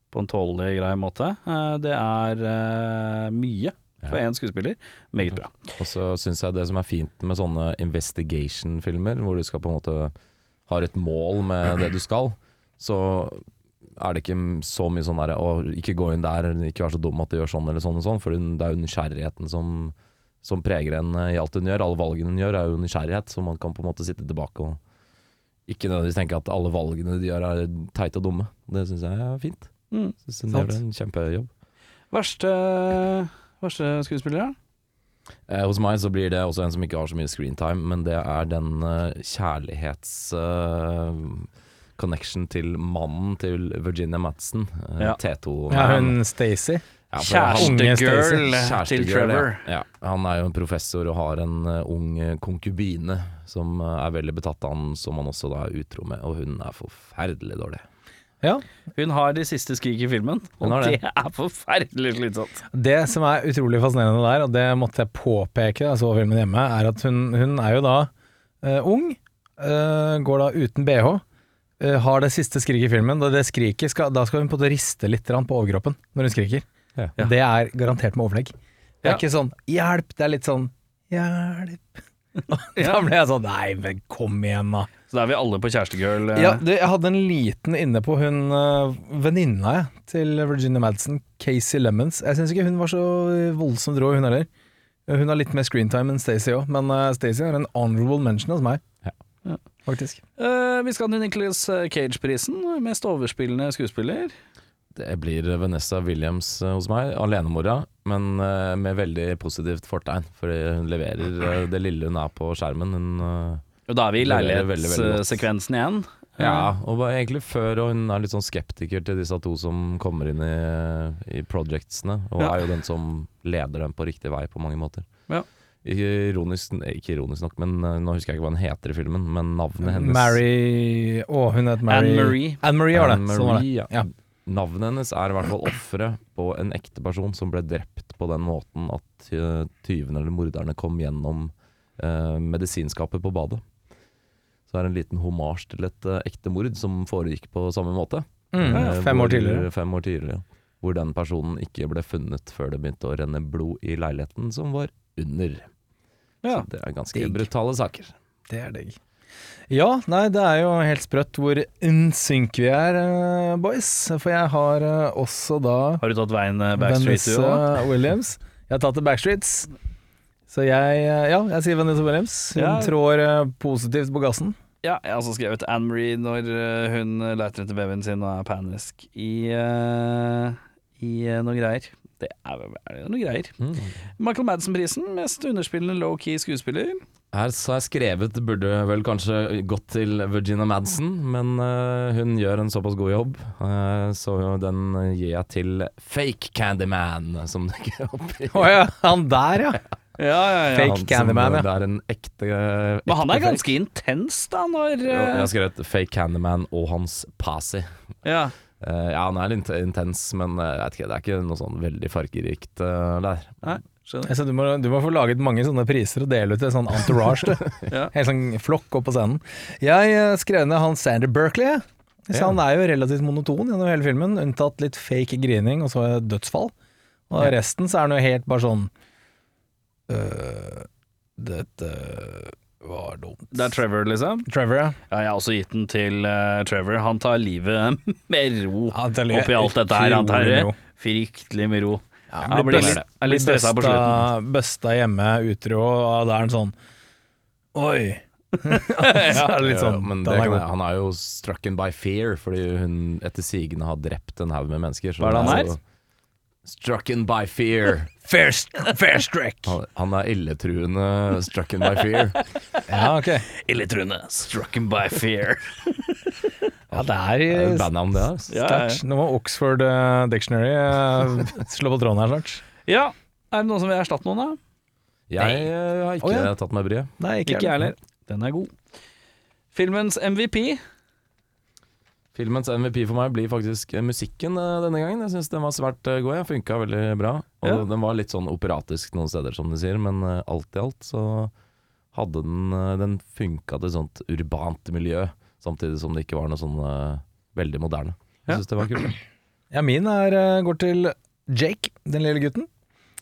[SPEAKER 2] på en tålelig grei måte. Eh, det er eh, mye for én skuespiller. Meget bra.
[SPEAKER 5] Og så syns jeg det som er fint med sånne investigation-filmer, hvor du skal på en måte har et mål med det du skal, så er det ikke så mye sånn derre å, ikke gå inn der, ikke være så dum at du gjør sånn eller sånn og sånn, for det er jo nysgjerrigheten som, som preger en i alt hun gjør. Alle valgene hun gjør er jo nysgjerrighet, så man kan på en måte sitte tilbake og ikke nødvendigvis tenke at alle valgene de gjør er teite og dumme. Det syns jeg er fint.
[SPEAKER 2] Mm,
[SPEAKER 5] Synes hun
[SPEAKER 4] sant.
[SPEAKER 5] gjør en kjempejobb.
[SPEAKER 2] Verste, verste skuespiller, da?
[SPEAKER 5] Eh, hos meg så blir det også en som ikke har så mye screentime, men det er den eh, kjærlighets... eh, connection til mannen til Virginia Madsen, eh,
[SPEAKER 2] Ja.
[SPEAKER 5] T2.
[SPEAKER 4] Ja, hun Stacey.
[SPEAKER 5] Ja, for han-
[SPEAKER 2] Kjærestegirl
[SPEAKER 5] Kjærestegirl,
[SPEAKER 2] til
[SPEAKER 5] ja.
[SPEAKER 2] Trevor.
[SPEAKER 5] Ja. Han er jo en professor og har en eh, ung eh, konkubine som eh, er veldig betatt av han, som han også da er utro med, og hun er forferdelig dårlig.
[SPEAKER 4] Ja.
[SPEAKER 2] Hun har de siste skrik i filmen, og
[SPEAKER 5] Hun har
[SPEAKER 2] det
[SPEAKER 5] det.
[SPEAKER 2] er forferdelig slitsomt.
[SPEAKER 4] Det som er utrolig fascinerende der, og det måtte jeg påpeke da jeg så filmen hjemme, er at hun, hun er jo da eh, ung, eh, går da uten BH, eh, har det siste skriket i filmen. Da, det skriket skal, da skal hun på en måte riste litt grann på overkroppen når hun skriker.
[SPEAKER 5] Ja.
[SPEAKER 4] Det er garantert med overlegg. Det
[SPEAKER 2] Ja.
[SPEAKER 4] er ikke sånn 'hjelp', det er litt sånn 'hjelp'. Da ble jeg sånn Nei, men kom igjen, da.
[SPEAKER 2] Så da er vi alle på kjærestegirl. eh.
[SPEAKER 4] Ja, du, jeg hadde en liten inne på hun øh, venninna jeg, til Virginia Madsen, Casey Lemons. Jeg syns ikke hun var så eh, voldsomt rå, hun heller. Eh, Hun har litt mer screentime enn Stacey òg, men uh, Stacey er en honorable mention hos meg.
[SPEAKER 2] Ja.
[SPEAKER 4] Faktisk.
[SPEAKER 2] Eh, vi skal til Nicholas Cage-prisen, mest overspillende skuespiller.
[SPEAKER 5] Det blir Vanessa Williams eh, hos meg, alenemora, men eh, med veldig positivt fortegn. Fordi hun leverer eh, det lille hun er på skjermen. Hun, eh,
[SPEAKER 2] Og da er vi i
[SPEAKER 5] Veldig, veldig, veldig godt.
[SPEAKER 2] leilighetssekvensen igjen. Eh,
[SPEAKER 5] ja, og bare egentlig før, og hun er litt sånn skeptiker til disse to som kommer inn i, i projectsene. Og
[SPEAKER 2] Ja.
[SPEAKER 5] er jo den som leder dem på riktig vei på mange måter.
[SPEAKER 2] Ja.
[SPEAKER 5] Ironisk, ikke ironisk nok, men eh, nå husker jeg ikke hva hun heter i filmen, men navnet hennes
[SPEAKER 4] Mary Å, hun het Mary
[SPEAKER 2] Anne-Marie.
[SPEAKER 4] Anne-Marie var det.
[SPEAKER 5] Anne
[SPEAKER 4] Sånn var det.
[SPEAKER 5] Marie, ja.
[SPEAKER 4] Ja.
[SPEAKER 5] Navnet hennes er i hvert fall offeret på en ekte person som ble drept på den måten at eh, tyvene eller morderne kom gjennom eh, medisinskapet på badet. Så det er en liten homasj til et eh, ekte mord som foregikk på samme måte.
[SPEAKER 4] Mm,
[SPEAKER 5] Eh,
[SPEAKER 4] fem
[SPEAKER 5] hvor-
[SPEAKER 4] år tidligere.
[SPEAKER 5] Fem år tidligere. Hvor den personen ikke ble funnet før det begynte å renne blod i leiligheten som var under.
[SPEAKER 2] Ja.
[SPEAKER 5] Så det er ganske
[SPEAKER 4] Digg.
[SPEAKER 5] brutale saker.
[SPEAKER 4] Det er digg. Ja, nei, det er jo helt sprøtt hvor in sync vi er, eh, boys. For jeg har eh, også da
[SPEAKER 2] Har du tatt veien eh, Backstreet du
[SPEAKER 4] Vanessa
[SPEAKER 2] òg?
[SPEAKER 4] Williams. Jeg har tatt det Backstreets. Så jeg, eh, ja, jeg sier Vanessa Williams. Hun
[SPEAKER 2] Ja.
[SPEAKER 4] trår eh, positivt på gassen.
[SPEAKER 2] Ja, jeg har også skrevet Anne-Marie når eh, hun leter etter babyen sin og er panisk i, eh, i eh, noe greier. Det er, er det noe greier. Michael Madsen-prisen, mest underspillende low-key skuespiller.
[SPEAKER 5] Her så har jeg skrevet burde vel kanskje gått til Virginia Madsen, men eh, hun gjør en såpass god jobb, eh, så den gir jeg til Fake Candyman, som dukker opp i
[SPEAKER 4] Å ja, han der, ja.
[SPEAKER 2] Ja, ja, ja.
[SPEAKER 4] Fake
[SPEAKER 5] Han som-
[SPEAKER 4] Candyman, ja.
[SPEAKER 5] Det er en ekte, ekte
[SPEAKER 2] Men han er
[SPEAKER 5] fake.
[SPEAKER 2] ganske intens, da, når
[SPEAKER 5] Jo, Jeg
[SPEAKER 2] eh,
[SPEAKER 5] har skrevet Fake Candyman og hans posse.
[SPEAKER 2] Ja.
[SPEAKER 5] Eh, ja, han er litt intens, men eh, jeg vet ikke, det er ikke noe sånn veldig fargerikt eh, der.
[SPEAKER 2] Nei, skjønner.
[SPEAKER 4] Så du, må, du må få laget mange sånne priser og dele ut til sånn entourage. Du.
[SPEAKER 2] Ja.
[SPEAKER 4] Helt sånn flokk opp på scenen. Jeg eh, skrev ned han Sander Berkley. jeg. Så
[SPEAKER 5] Ja.
[SPEAKER 4] Han er jo relativt monoton gjennom hele filmen, unntatt litt fake grining og så et dødsfall. Og resten så er han jo helt bare sånn øh, Dette var dumt.
[SPEAKER 2] Det er Trevor, liksom?
[SPEAKER 4] Trevor, ja.
[SPEAKER 2] Ja, jeg har også gitt den til eh, Trevor. Han tar livet med ro
[SPEAKER 4] Ja, det er
[SPEAKER 2] oppi alt dette her. Han tar
[SPEAKER 4] utrolig
[SPEAKER 2] det
[SPEAKER 4] ro.
[SPEAKER 2] fryktelig med ro.
[SPEAKER 4] Ja,
[SPEAKER 2] han blir litt- er litt stressa på
[SPEAKER 4] bøsta- Bøsta hjemme, utro, og da er han sånn Oi! så er det litt
[SPEAKER 5] Ja,
[SPEAKER 4] sånn
[SPEAKER 5] men
[SPEAKER 4] den
[SPEAKER 5] det
[SPEAKER 4] er
[SPEAKER 5] kan,
[SPEAKER 4] god.
[SPEAKER 5] jeg- han er jo strucken by fear, fordi hun etter sigende har drept en haug med mennesker. så
[SPEAKER 2] Hva er det han
[SPEAKER 5] jo-
[SPEAKER 2] er?
[SPEAKER 5] Strucken by fear.
[SPEAKER 4] Fair, fair strike!
[SPEAKER 5] Han, han er illetruende strucken by fear.
[SPEAKER 4] Ja, ok.
[SPEAKER 2] Illetrune, strucken by fear.
[SPEAKER 4] Ja, det
[SPEAKER 5] Det er jo
[SPEAKER 4] er
[SPEAKER 5] bandnavn, det. Altså.
[SPEAKER 2] Ja, ja, ja.
[SPEAKER 4] sterkt. Nå må Oxford eh, Dictionary eh, slå på tråden her snart.
[SPEAKER 2] Ja, er det noen som vil erstatte noen, da?
[SPEAKER 5] Jeg eh, har ikke
[SPEAKER 4] Å, ja.
[SPEAKER 5] tatt meg bryet.
[SPEAKER 4] Nei,
[SPEAKER 2] Ikke jeg heller. Den er god. Filmens MVP.
[SPEAKER 5] Filmens MVP for meg blir faktisk eh, musikken eh, denne gangen. Jeg syns den var svært eh, god. Jeg funka veldig bra. Og
[SPEAKER 2] Ja.
[SPEAKER 5] den var litt sånn operatisk noen steder, som de sier, men eh, alt i alt så hadde den eh, Den funka til et sånt urbant miljø, samtidig som det ikke var noe sånn eh, veldig moderne.
[SPEAKER 2] Ja.
[SPEAKER 5] Jeg syns det var kult.
[SPEAKER 4] Ja, min er, eh, går til Jake, den lille gutten,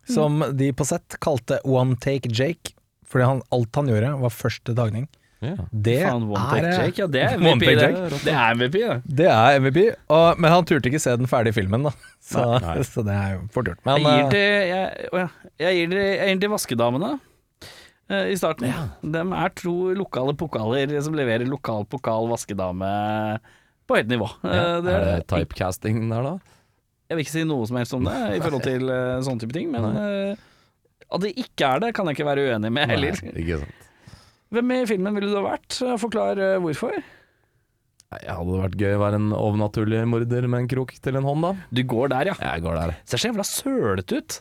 [SPEAKER 4] som
[SPEAKER 2] Mm.
[SPEAKER 4] de på sett kalte One Take Jake, fordi han, alt han gjorde var første dagning.
[SPEAKER 5] Ja.
[SPEAKER 4] Det
[SPEAKER 2] Faen, One Take
[SPEAKER 4] er eh,
[SPEAKER 2] Jake. Ja, det er
[SPEAKER 4] One
[SPEAKER 2] MVP,
[SPEAKER 4] Take
[SPEAKER 2] det.
[SPEAKER 4] Jake.
[SPEAKER 2] Det er MVP, det.
[SPEAKER 4] Det er MVP, og, men han turte ikke se den ferdige filmen, da. Så, så det er jo fort gjort. Men
[SPEAKER 2] Jeg gir
[SPEAKER 4] eh,
[SPEAKER 2] det jeg, å ja, jeg gir det jeg gir det Vaskedamene eh, i starten. De er tro lokale pokaler som leverer lokal pokal vaskedame på høyt nivå. Eh, det
[SPEAKER 5] er
[SPEAKER 2] er
[SPEAKER 5] det
[SPEAKER 2] det.
[SPEAKER 5] typecasting der, da?
[SPEAKER 2] Jeg vil ikke si noe som helst om det i forhold til eh, sånne type ting, men eh, at det ikke er det, kan jeg ikke være uenig med heller.
[SPEAKER 5] Nei, ikke sant.
[SPEAKER 2] Hvem i filmen ville du ha vært? Forklar eh, hvorfor.
[SPEAKER 5] Nei, hadde det vært gøy å være en overnaturlig morder med en krok til en hånd, da?
[SPEAKER 2] Du går der, ja.
[SPEAKER 5] Jeg går der.
[SPEAKER 2] Ser så jævla sølete ut.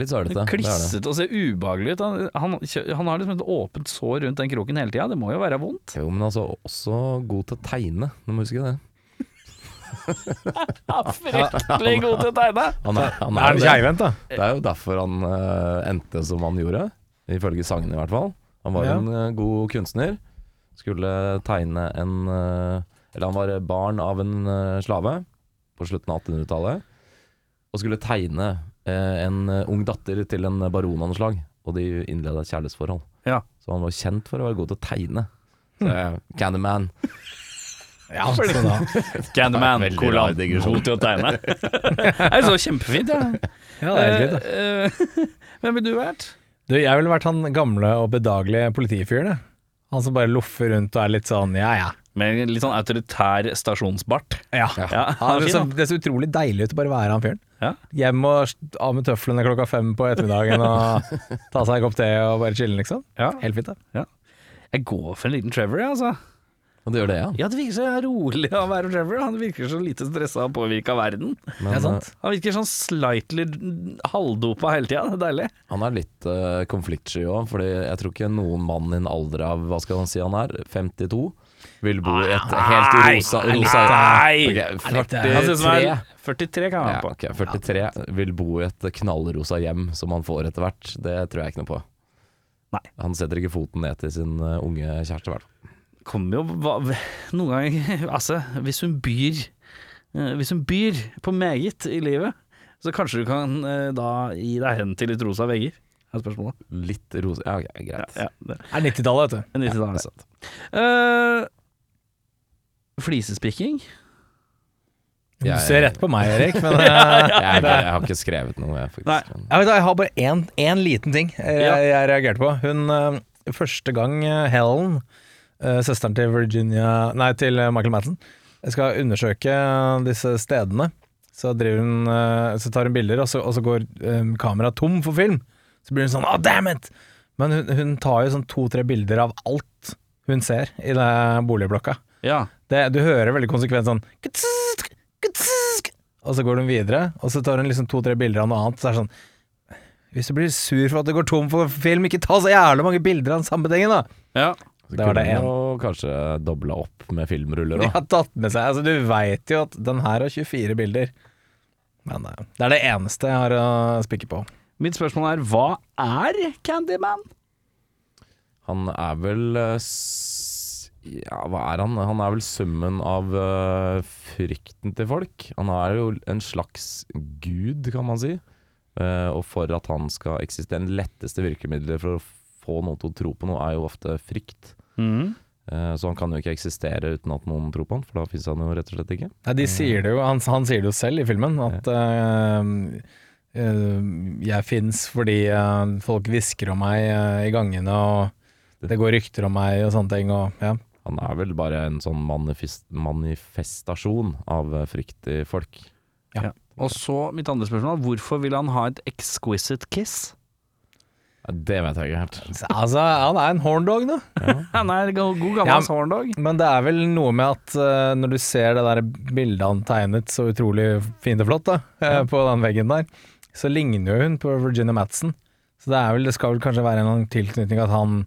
[SPEAKER 5] Litt sølete. det er det.
[SPEAKER 2] Klissete og ser ubehagelig ut. Han, han, kjø- han har liksom et åpent sår rundt den kroken hele tida. Det må jo være vondt.
[SPEAKER 5] Jo, men altså også god til å tegne, du må huske det.
[SPEAKER 2] Fryktelig god til å tegne!
[SPEAKER 5] Han er, han jo
[SPEAKER 4] er han
[SPEAKER 5] det.
[SPEAKER 4] keivhendt, da?
[SPEAKER 5] Det er jo derfor han eh, endte som han gjorde, ifølge sangene i hvert fall. Han var
[SPEAKER 4] Ja.
[SPEAKER 5] en eh, god kunstner. Skulle tegne en eh, Eller han var barn av en eh, slave på slutten av 1800-tallet. Og skulle tegne eh, en eh, ung datter til en baron av noe slag. Og de innleda et kjærlighetsforhold.
[SPEAKER 2] Ja.
[SPEAKER 5] Så han var kjent for å være god til å tegne. Så, jeg, Candyman.
[SPEAKER 4] Ja, så da.
[SPEAKER 2] Candyman,
[SPEAKER 5] Veldig rar
[SPEAKER 2] kolon,
[SPEAKER 5] digresjon.
[SPEAKER 2] god til å tegne. Jeg så kjempefint, jeg.
[SPEAKER 4] ja det er helt greit, da.
[SPEAKER 2] Eh, eh, Hvem ville du vært?
[SPEAKER 4] Du, jeg ville vært han gamle og bedagelige politifyren. jeg. Han som bare loffer rundt og er litt sånn ja, ja.
[SPEAKER 2] Med litt sånn autoritær stasjonsbart.
[SPEAKER 4] ja.
[SPEAKER 2] Ja,
[SPEAKER 4] Han
[SPEAKER 2] han
[SPEAKER 4] er
[SPEAKER 2] er
[SPEAKER 4] så,
[SPEAKER 2] fin, da.
[SPEAKER 4] det er så utrolig deilig ut å bare være han fyren.
[SPEAKER 2] Ja.
[SPEAKER 4] Hjem og st- av med tøflene klokka fem på ettermiddagen og ta seg en kopp te og bare chille, liksom.
[SPEAKER 2] Ja.
[SPEAKER 4] Helt fint, det.
[SPEAKER 2] Jeg går for en liten Trevor, jeg, altså.
[SPEAKER 5] Og det gjør det, ja.
[SPEAKER 2] Ja, det virker så rolig av å være Trevor. Han virker så lite stressa og påvirka av verden.
[SPEAKER 5] Men eh,
[SPEAKER 4] Det er sant.
[SPEAKER 2] Han virker sånn slightly halvdopa hele tida. Det er deilig.
[SPEAKER 5] eh, han er litt uh, konfliktsky òg, Fordi jeg tror ikke noen mann i en alder av hva skal han si han er, 52, vil bo i et helt
[SPEAKER 2] Ah, Nei,
[SPEAKER 5] rosa,
[SPEAKER 2] nei,
[SPEAKER 5] rosa
[SPEAKER 2] nei.
[SPEAKER 5] Ok,
[SPEAKER 2] Han synes han
[SPEAKER 5] 43.
[SPEAKER 2] er 43 kan han
[SPEAKER 5] Ja,
[SPEAKER 2] være på.
[SPEAKER 5] ok, 43 vil bo i et knallrosa hjem som han får etter hvert. Det tror jeg ikke noe på.
[SPEAKER 2] Nei.
[SPEAKER 5] Han setter ikke foten ned til sin eh, unge kjæreste. i hvert fall.
[SPEAKER 2] Kommer jo hva, Noen ganger Altså, hvis hun byr eh, Hvis hun byr på meget i livet, så kanskje du kan eh, da gi deg hen til litt rosa vegger, er spørsmålet.
[SPEAKER 5] Litt rosa Ja, ok, greit.
[SPEAKER 2] Ja, det
[SPEAKER 4] Det er 90-tallet, vet du.
[SPEAKER 2] er nyttig da,
[SPEAKER 5] det er
[SPEAKER 2] altså.
[SPEAKER 5] sant.
[SPEAKER 2] Eh, Flisespikking?
[SPEAKER 4] Du
[SPEAKER 5] Jeg-
[SPEAKER 4] ser rett på meg, Erik, men eh,
[SPEAKER 5] Jeg, er ikke- jeg har ikke skrevet noe, jeg, faktisk.
[SPEAKER 2] Nei.
[SPEAKER 5] Men-
[SPEAKER 4] jeg, vet, da, jeg har bare én, én liten ting jeg,
[SPEAKER 2] Ja.
[SPEAKER 4] jeg, reagerte på. Hun eh, Første gang eh, Helen, eh, søsteren til Virginia Nei, til eh, Michael Madsen, skal undersøke eh, disse stedene, så, driver hun, eh, så tar hun bilder, og så, og så går eh, kameraet tom for film. Så blir hun sånn 'oh, damn it'! Men hun, hun tar jo sånn to-tre bilder av alt hun ser i det boligblokka.
[SPEAKER 2] Ja.
[SPEAKER 4] Det, du hører veldig konsekvent sånn «Kutsk, kutsk», Og så går hun videre, og så tar hun liksom to-tre bilder av noe annet. Så er det sånn Hvis du blir sur for at det går tom for film, ikke ta så jævlig mange bilder av den samme tingen, da!
[SPEAKER 2] ja.
[SPEAKER 5] Så
[SPEAKER 4] Det var det
[SPEAKER 5] kunne
[SPEAKER 4] en.
[SPEAKER 5] jo kanskje dobla opp med filmruller
[SPEAKER 4] De
[SPEAKER 5] òg.
[SPEAKER 4] har tatt med seg Altså, du veit jo at den her har 24 bilder. Men eh, det er det eneste jeg har å spikke på.
[SPEAKER 2] Mitt spørsmål er hva er Candyman?
[SPEAKER 5] Han er vel eh, s- Ja, hva er han? Han er vel summen av eh, frykten til folk. Han er jo en slags gud, kan man si. Eh, og for at han skal eksistere, den letteste virkemidlet for å få noen til å tro på noe, er jo ofte frykt. Eh, så han kan jo ikke eksistere uten at noen tror på han, for da fins han jo rett og slett ikke.
[SPEAKER 4] Nei, de sier det jo, han, han sier det jo selv i filmen, at eh, eh, jeg fins fordi eh, folk hvisker om meg eh, i gangene, og det går rykter om meg og sånne ting. Og, ja.
[SPEAKER 5] Han er vel bare en sånn manifest, manifestasjon av eh, frykt i folk.
[SPEAKER 2] Og så mitt andre spørsmål, hvorfor vil han ha et exquisite kiss?
[SPEAKER 5] Ja, det vet jeg ikke helt.
[SPEAKER 4] Så, Altså, han er en horndog, da.
[SPEAKER 2] Han er en god god
[SPEAKER 4] Ja,
[SPEAKER 2] gammel
[SPEAKER 4] men-
[SPEAKER 2] horndog.
[SPEAKER 4] Men det er vel noe med at eh, når du ser det der bildet han tegnet så utrolig fint og flott da, eh, på den veggen der, så ligner jo hun på Virginia Madsen. Så det, er vel, det skal vel kanskje være en eller annen tilknytning at han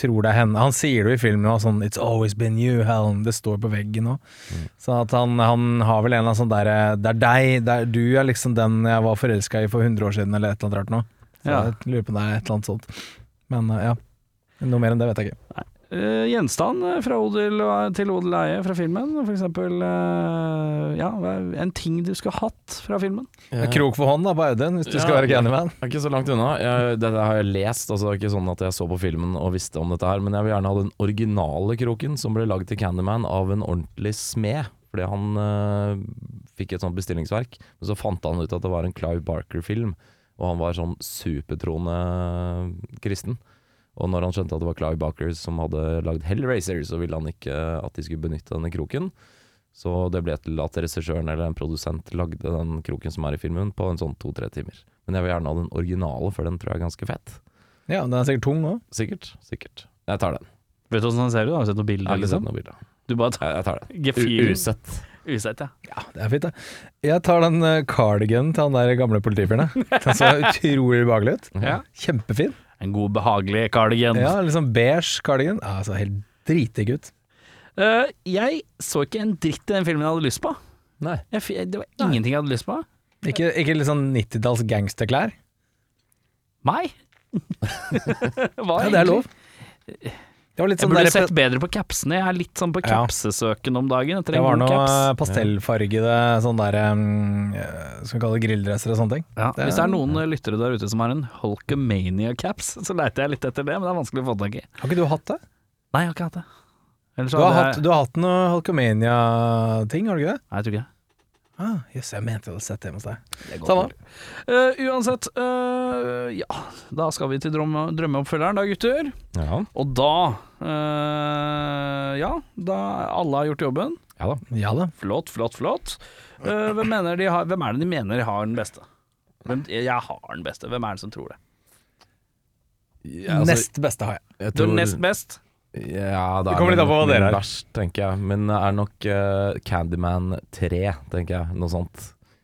[SPEAKER 4] tror det er henne. Han sier det jo i filmen også, sånn It's always been you, Helen. Det står på veggen òg. Så at han, han har vel en eller annen sånn derre Det er deg, det er, du er liksom den jeg var forelska i for 100 år siden, eller et eller annet rart nå. Så
[SPEAKER 2] Ja.
[SPEAKER 4] jeg lurer på om det er et eller annet sånt. Men eh, ja. Noe mer enn det vet jeg ikke.
[SPEAKER 2] Eh, gjenstand eh, fra odel og, til odel og eie fra filmen, for eksempel eh, ja, hva- en ting du skulle hatt fra filmen.
[SPEAKER 4] En Krok for hånd da på Audun, hvis du
[SPEAKER 5] Ja.
[SPEAKER 4] skal være Candyman.
[SPEAKER 5] Det er ikke så langt unna. Jeg, dette har jeg lest, altså det er ikke sånn at jeg så på filmen og visste om dette her, men jeg vil gjerne ha den originale kroken som ble lagd til Candyman av en ordentlig smed. Fordi han øh, fikk et sånt bestillingsverk, men så fant han ut at det var en Clive Barker-film, og han var sånn supertroende eh, kristen. Og når han skjønte at det var Clive Barker som hadde lagd Hellraiser, så ville han ikke at de skulle benytte denne kroken. Så det ble til at regissøren eller en produsent lagde den kroken som er i filmen på en sånn to-tre timer. Men jeg vil gjerne ha den originale, for den tror jeg er ganske fett.
[SPEAKER 4] Ja, den er sikkert tung òg.
[SPEAKER 5] Sikkert. sikkert. Jeg tar den.
[SPEAKER 2] Vet du hvordan den ser ut? Har du sett noen
[SPEAKER 5] Jeg
[SPEAKER 2] bilder? liksom?
[SPEAKER 5] har ikke sett noe bilde. av den.
[SPEAKER 2] Du bare tar
[SPEAKER 5] Jeg jeg tar den. U
[SPEAKER 2] gefühlen.
[SPEAKER 5] usett.
[SPEAKER 2] Usett, ja.
[SPEAKER 4] Ja, det er fint, det. Jeg tar den eh, cardiganen til han der gamle politifyren. jeg. Den så utrolig behagelig ut.
[SPEAKER 2] Ja.
[SPEAKER 4] Kjempefin.
[SPEAKER 2] En god, behagelig cardigan.
[SPEAKER 4] Ja, litt sånn beige cardigan. Ja, Altså, helt dritig ut.
[SPEAKER 2] Eh, jeg så ikke en dritt i den filmen jeg hadde lyst på.
[SPEAKER 5] Nei.
[SPEAKER 2] Jeg, fi- det var ingenting jeg hadde lyst på.
[SPEAKER 4] Ikke, ikke litt sånn 90-talls gangsterklær.
[SPEAKER 2] Meg? Hva
[SPEAKER 4] Ja, det er lov. Det var litt
[SPEAKER 2] Jeg
[SPEAKER 4] sånn
[SPEAKER 2] burde
[SPEAKER 4] der-
[SPEAKER 2] sett bedre på capsene. Jeg er litt sånn på
[SPEAKER 4] Ja.
[SPEAKER 2] capsesøken om dagen. Jeg
[SPEAKER 4] Det
[SPEAKER 2] trenger
[SPEAKER 4] var
[SPEAKER 2] god
[SPEAKER 4] noe eh,
[SPEAKER 2] caps.
[SPEAKER 4] pastellfargede sånn der um, eh, Skal vi kalle det grilldresser og sånne ting.
[SPEAKER 2] Ja.
[SPEAKER 4] det-
[SPEAKER 2] Hvis det er noen eh, lyttere der ute som har en Holkomania-caps, så leiter jeg litt etter det, men det er vanskelig å få tak i.
[SPEAKER 4] Har ikke du hatt det?
[SPEAKER 2] Nei, jeg har ikke hatt det. Ellers
[SPEAKER 4] Du har
[SPEAKER 2] hadde
[SPEAKER 4] hatt,
[SPEAKER 2] jeg-
[SPEAKER 4] du har hatt noe Halkomania-ting, har du ikke det?
[SPEAKER 2] Nei, jeg tror ikke det.
[SPEAKER 4] Ah, Jøss, jeg mente jeg hadde sett det hos deg.
[SPEAKER 2] Samme. uansett, eh, ja Da skal vi til drømme, drømmeoppfølgeren da, gutter.
[SPEAKER 5] Ja,
[SPEAKER 2] Og da eh, Ja, da alle har gjort jobben.
[SPEAKER 5] ja da.
[SPEAKER 4] Ja da.
[SPEAKER 2] Flott, flott, flott. Eh, hvem, mener de har, hvem er det de mener har den beste? Hvem, jeg har den beste. Hvem er det som tror det?
[SPEAKER 5] Ja, altså,
[SPEAKER 4] Nest beste har jeg.
[SPEAKER 5] jeg
[SPEAKER 2] Du
[SPEAKER 5] tror-
[SPEAKER 2] er nest best.
[SPEAKER 5] Ja, da
[SPEAKER 4] Det kommer litt an på hva dere er.
[SPEAKER 5] Verst, tenker jeg. Men det er nok eh, Candyman 3, tenker jeg. Noe sånt.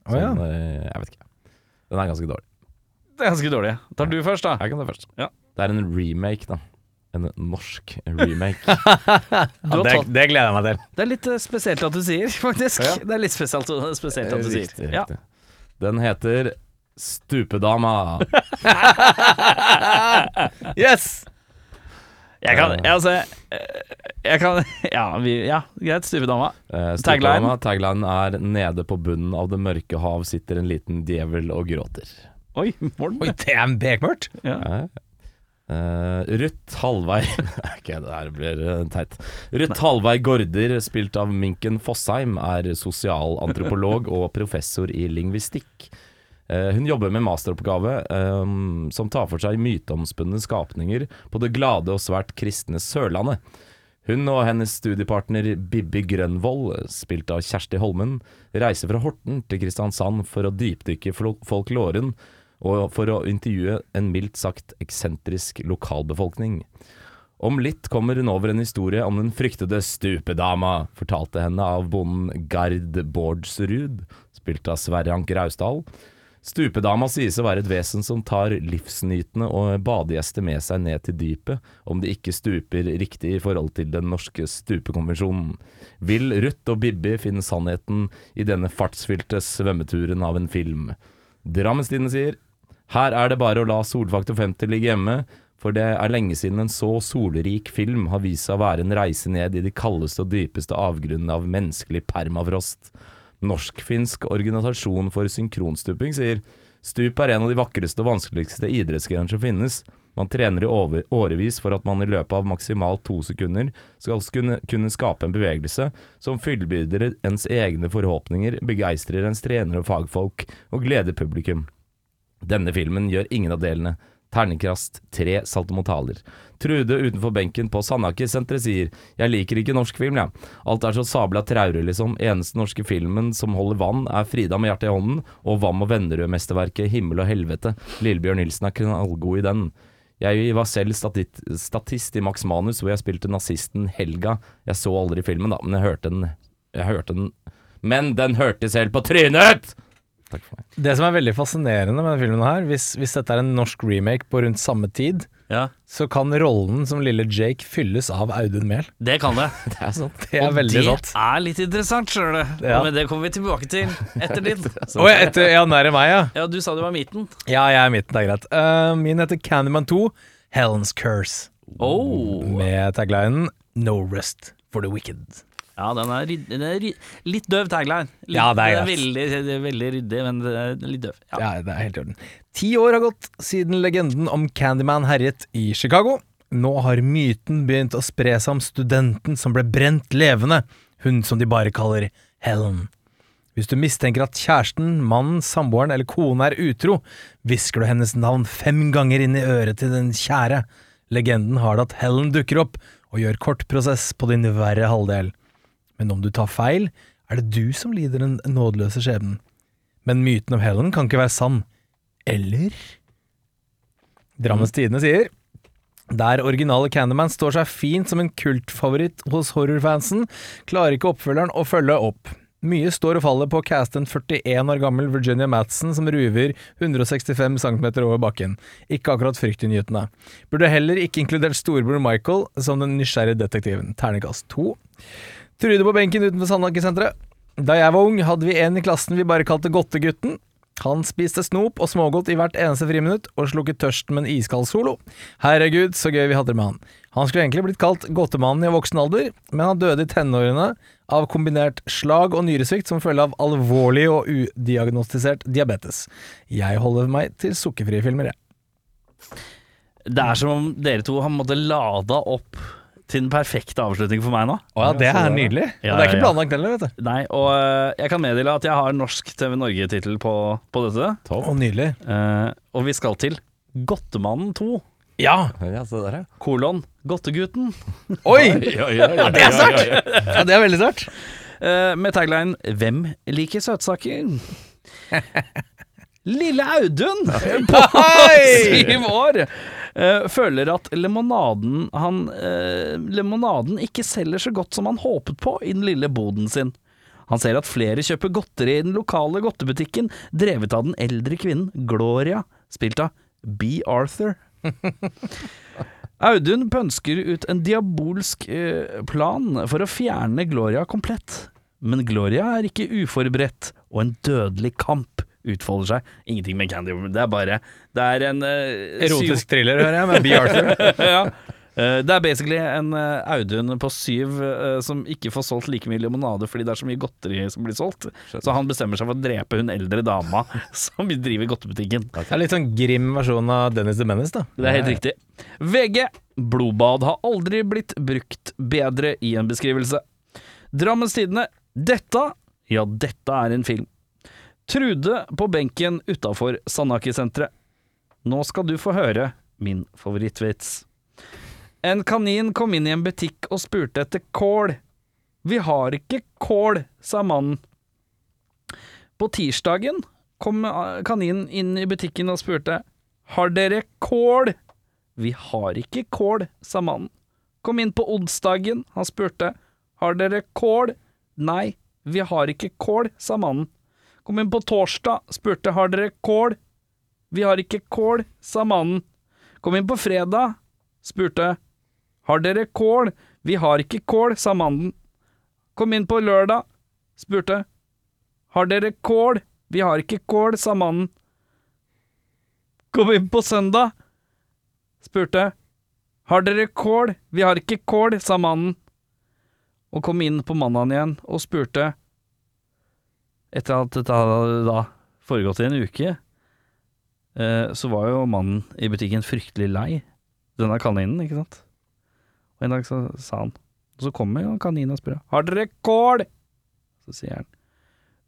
[SPEAKER 4] Å, ja.
[SPEAKER 5] Sånn, eh, jeg vet ikke. Den er ganske dårlig.
[SPEAKER 2] Det er ganske dårlig. Tar du først, da?
[SPEAKER 5] Jeg kan ta først.
[SPEAKER 2] Ja.
[SPEAKER 5] Det er en remake, da. En norsk remake.
[SPEAKER 2] Du har tatt,
[SPEAKER 4] gleder jeg meg til.
[SPEAKER 2] det er litt eh, spesielt at du sier, faktisk. Det er litt spesielt, eh, spesielt at du sier.
[SPEAKER 5] Riktig,
[SPEAKER 2] Ja.
[SPEAKER 5] riktig. Den heter Stupedama.
[SPEAKER 4] Yes!
[SPEAKER 2] Jeg kan, jeg, altså, eh, jeg kan Ja, vi, ja greit. Stupedama.
[SPEAKER 5] Eh,
[SPEAKER 2] Tagline?
[SPEAKER 5] Stupedama. Tagline er 'Nede på bunnen av det mørke hav sitter en liten djevel og gråter'.
[SPEAKER 2] Oi, Morten.
[SPEAKER 4] Oi, det er bekmørkt!
[SPEAKER 5] Ja. Eh, Ruth Halvei Ok, det her blir eh, teit. Ruth Halvei Gaarder, spilt av Minken Fossheim, er sosialantropolog og professor i lingvistikk. Eh, hun jobber med masteroppgave eh, som tar for seg myteomspunne skapninger på det glade og svært kristne Sørlandet. Hun og hennes studiepartner Bibbi Grønvoll, spilt av Kjersti Holmen, reiser fra Horten til Kristiansand for å dypdykke fol- folkloren og for å intervjue en mildt sagt eksentrisk lokalbefolkning. Om litt kommer hun over en historie om den fryktede stupedama, fortalte henne av bonden Gard Bårdsrud, spilt av Sverre Anker Rausdal. Stupedama sies å være et vesen som tar livsnytende og badegjester med seg ned til dypet, om de ikke stuper riktig i forhold til den norske stupekonvensjonen. Vil Ruth og Bibbi finne sannheten i denne fartsfylte svømmeturen av en film? Drammenstidene sier her er det bare å la Solfaktor 50 ligge hjemme, for det er lenge siden en så solrik film har vist seg å være en reise ned i de kaldeste og dypeste avgrunnene av menneskelig permafrost. Norsk-finsk organisasjon for synkronstuping sier stup er en av de vakreste og vanskeligste idrettsgrenene som finnes. Man trener i over, årevis for at man i løpet av maksimalt to sekunder skal kunne, kunne skape en bevegelse som fyllbyrder ens egne forhåpninger, begeistrer ens trenere og fagfolk og gleder publikum. Denne filmen gjør ingen av delene. Ternekrast tre saltomortaler. Trude utenfor benken på Sandaker-senteret sier Jeg liker ikke norsk film, jeg. Alt er så sabla traurig, liksom. Eneste norske filmen som holder vann, er Frida med hjertet i hånden og Vam og Vennerød-mesterverket Himmel og helvete. Lillebjørn Nilsen er knallgod i den. Jeg var selv statit- statist i Max Manus, hvor jeg spilte nazisten Helga. Jeg så aldri filmen, da, men jeg hørte den. Jeg hørte den. Men den hørtes helt på trynet! Takk for meg.
[SPEAKER 4] Det som er veldig fascinerende med denne filmen her, hvis, hvis dette er en norsk remake på rundt samme tid,
[SPEAKER 2] Ja,
[SPEAKER 4] så kan rollen som lille Jake fylles av Audun Mehl.
[SPEAKER 2] det kan det.
[SPEAKER 5] Det er sant.
[SPEAKER 4] Det er veldig
[SPEAKER 2] det
[SPEAKER 4] sant.
[SPEAKER 2] er litt interessant, skjønner du.
[SPEAKER 4] Ja. altså.
[SPEAKER 2] Og Men det kommer vi tilbake til etter din.
[SPEAKER 4] Å ja, etter, ja, nær i meg, ja.
[SPEAKER 2] Ja, du sa du var midten.
[SPEAKER 4] Ja, jeg er i midten, det er greit. Eh, min heter Candyman 2, Helen's Curse,
[SPEAKER 2] Oh.
[SPEAKER 4] med taglinen No rest for the wicked.
[SPEAKER 2] Ja, den er, rydd- den er rydd- litt døv tagline. Litt,
[SPEAKER 4] Ja, det er
[SPEAKER 2] den er veldig, det er veldig ryddig, men det er litt døv. Ja.
[SPEAKER 4] Ja, det er helt i orden. Ti år har gått siden legenden om Candyman herjet i Chicago. Nå har myten begynt å spre seg om studenten som ble brent levende, hun som de bare kaller Helen. Hvis du mistenker at kjæresten, mannen, samboeren eller kona er utro, hvisker du hennes navn fem ganger inn i øret til den kjære. Legenden har det at Helen dukker opp og gjør kort prosess på din verre halvdel. Men om du tar feil, er det du som lider den nådeløse skjebnen. Men myten om Helen kan ikke være sann. Eller? Drammens Tidende sier der originale Candyman står seg fint som en kultfavoritt hos horrorfansen, klarer ikke oppfølgeren å følge opp. Mye står og faller på å caste en 41 år gammel Virginia Madsen som ruver 165 cm over bakken. Ikke akkurat fryktinngytende. Burde heller ikke inkludert storebror Michael som den nysgjerrige detektiven. Ternekast to. Trude på benken utenfor Sandaker-senteret. Da jeg var ung, hadde vi en i klassen vi bare kalte Godtegutten. Han spiste snop og smågodt i hvert eneste friminutt, og slukket tørsten med en iskald solo. Herregud, så gøy vi hadde det med han. Han skulle egentlig blitt kalt gåtemannen i voksen alder, men han døde i tenårene av kombinert slag og nyresvikt som følge av alvorlig og udiagnostisert diabetes. Jeg holder meg til sukkerfrie filmer, jeg.
[SPEAKER 2] Det er som om dere to har måttet lada opp til den perfekte avslutningen for meg nå.
[SPEAKER 4] Å ja, det er nydelig.
[SPEAKER 2] Ja,
[SPEAKER 4] og det er ikke
[SPEAKER 2] ja, ja.
[SPEAKER 4] planlagt heller, vet du.
[SPEAKER 2] Nei, og eh, jeg kan meddele at jeg har norsk TV Norge-tittel på, på dette.
[SPEAKER 4] Å, nydelig.
[SPEAKER 2] Eh, og vi skal til Godtemannen 2,
[SPEAKER 4] Ja!
[SPEAKER 5] Ja, se der, ja.
[SPEAKER 2] kolon Godtegutten.
[SPEAKER 4] Oi!
[SPEAKER 5] Ja, ja, ja,
[SPEAKER 4] Det er sterkt! Ja, det er veldig sterkt.
[SPEAKER 2] Eh, med tagline 'Hvem liker søtsaker?' Lille Audun på syv år eh, føler at lemonaden han eh, Lemonaden ikke selger så godt som han håpet på i den lille boden sin. Han ser at flere kjøper godteri i den lokale godtebutikken, drevet av den eldre kvinnen Gloria, spilt av B. Arthur. Audun pønsker ut en diabolsk eh, plan for å fjerne Gloria komplett. Men Gloria er ikke uforberedt, og en dødelig kamp utfolder seg. Ingenting med Candy Woman, det er bare Det er en eh, syv-
[SPEAKER 4] Erotisk thriller, hører jeg, med B. Arthur.
[SPEAKER 2] ja. Eh, Det er basically en eh, Audun på syv eh, som ikke får solgt like mye limonade fordi det er så mye godteri som blir solgt. Så han bestemmer seg for å drepe hun eldre dama som driver godtebutikken.
[SPEAKER 4] Det er litt sånn grim versjon av Dennis the Menace, da.
[SPEAKER 2] Det er helt riktig. VG. Blodbad har aldri blitt brukt bedre i en beskrivelse. Drammens Tidende. Dette, ja, dette er en film. Trude på benken utafor Sandaki-senteret. Nå skal du få høre min favorittvits. En kanin kom inn i en butikk og spurte etter kål. Vi har ikke kål, sa mannen. På tirsdagen kom eh, kaninen inn i butikken og spurte har dere kål? Vi har ikke kål, sa mannen. Kom inn på onsdagen, han spurte. Har dere kål? Nei, vi har ikke kål, sa mannen. Kom inn på torsdag, spurte. Har dere kål? Vi har ikke kål, sa mannen. Kom inn på fredag, spurte. Har dere kål? Vi har ikke kål, sa mannen. Kom inn på lørdag, spurte. Har dere kål? Vi har ikke kål, sa mannen. Kom inn på søndag, spurte. Har dere kål? Vi har ikke kål, sa mannen. Og kom inn på mandagen igjen og spurte. Etter at dette hadde da foregått i en uke, eh, så var jo mannen i butikken fryktelig lei denne kaninen, ikke sant? Og en dag så sa han, og så kommer jo kaninen og spør, har dere kål? Så sier han,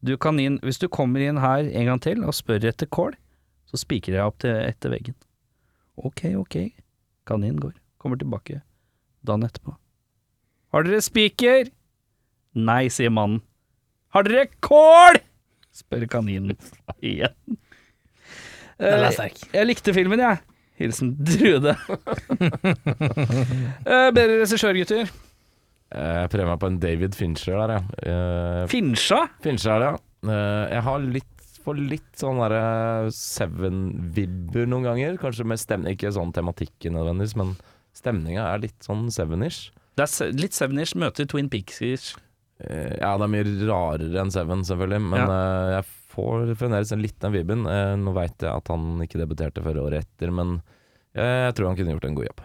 [SPEAKER 2] du kanin, hvis du kommer inn her en gang til og spør etter kål, så spiker jeg opp til etter veggen. Ok, ok. Kaninen går. Kommer tilbake dagen etterpå. Har dere spiker? Nei, sier mannen. Har dere kål? spør kaninen igjen. Eh, Den er sterk. Jeg likte filmen, jeg. Hilsen Trude. Eh, Bedre regissør, gutter.
[SPEAKER 5] Eh, Jeg prøver meg på en David Fincher der, ja. Eh,
[SPEAKER 2] Fincha?
[SPEAKER 5] Fincher her, ja. Eh, jeg har litt for litt sånn derre Seven-vibber noen ganger. Kanskje med stemning Ikke sånn tematikken nødvendigvis, men stemninga er litt sånn Seven-ish.
[SPEAKER 2] Det er se- litt Sevenish møter Twin Peaks-ish.
[SPEAKER 5] Eh, ja, det er mye rarere enn Seven, selvfølgelig, men eh, jeg får fremdeles en liten vibben. Eh, nå veit jeg at han ikke debuterte før året etter, men eh, jeg tror han kunne gjort en god jobb.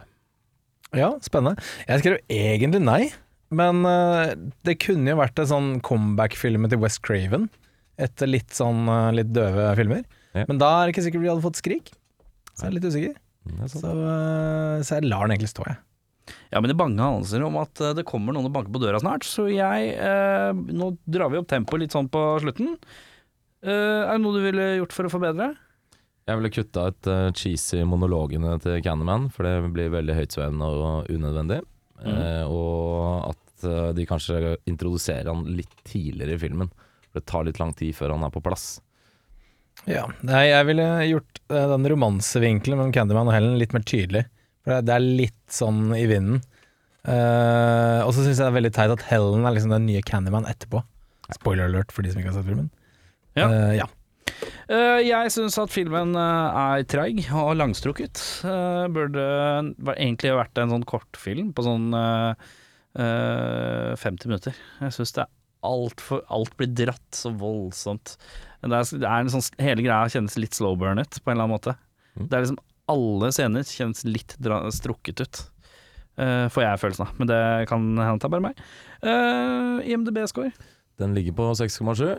[SPEAKER 4] Ja, spennende. Jeg skrev egentlig nei, men eh, det kunne jo vært en sånn comeback-film til West Craven. Etter litt sånn eh, litt døve filmer.
[SPEAKER 5] Ja.
[SPEAKER 4] Men da er det ikke sikkert vi hadde fått Skrik. Så jeg er litt usikker.
[SPEAKER 5] Mm, det er sant.
[SPEAKER 4] Så, eh, så jeg lar den egentlig stå, jeg.
[SPEAKER 2] Ja, men det er bange anelser om at eh, det kommer noen og banker på døra snart, så jeg eh, Nå drar vi opp tempoet litt sånn på slutten. Eh, er det noe du ville gjort for å forbedre?
[SPEAKER 5] Jeg ville kutta ut eh, cheesy monologene til Candyman, for det blir veldig høytsvevende og unødvendig. Eh, og at eh, de kanskje introduserer han litt tidligere i filmen. For det tar litt lang tid før han er på plass.
[SPEAKER 4] Ja, nei, jeg ville gjort eh, den romansevinkelen mellom Candyman og Helen litt mer tydelig. For det, det er litt sånn i vinden. Eh, og så syns jeg det er veldig teit at Helen er liksom den nye Candyman etterpå. Spoiler alert for de som ikke har sett filmen.
[SPEAKER 2] Ja.
[SPEAKER 4] Eh, ja.
[SPEAKER 2] Eh, jeg syns at filmen eh, er treig og langstrukket. Eh, burde væ- egentlig vært en sånn kortfilm på sånn eh, eh, 50 minutter. Jeg syns det er altfor Alt blir dratt så voldsomt. Men Det er, det er en sånn, hele greia kjennes litt slow burnet på en eller annen måte. Det er liksom Alle scener kjennes litt dra, strukket ut. eh, får jeg følelsen av. Men det kan hende det er bare meg. Eh, IMDb-score.
[SPEAKER 5] Den ligger på 6,7.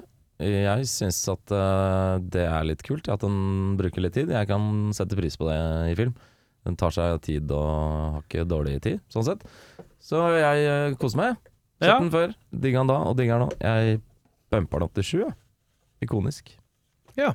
[SPEAKER 5] Jeg syns at eh, det er litt kult at den bruker litt tid. Jeg kan sette pris på det i film. Den tar seg tid og har ikke dårlig tid, sånn sett. Så jeg eh, koser meg. Sett
[SPEAKER 2] Ja.
[SPEAKER 5] den før, digga den da og digger den nå. Jeg bumper den opp til 7. jeg. Ikonisk.
[SPEAKER 4] Ja,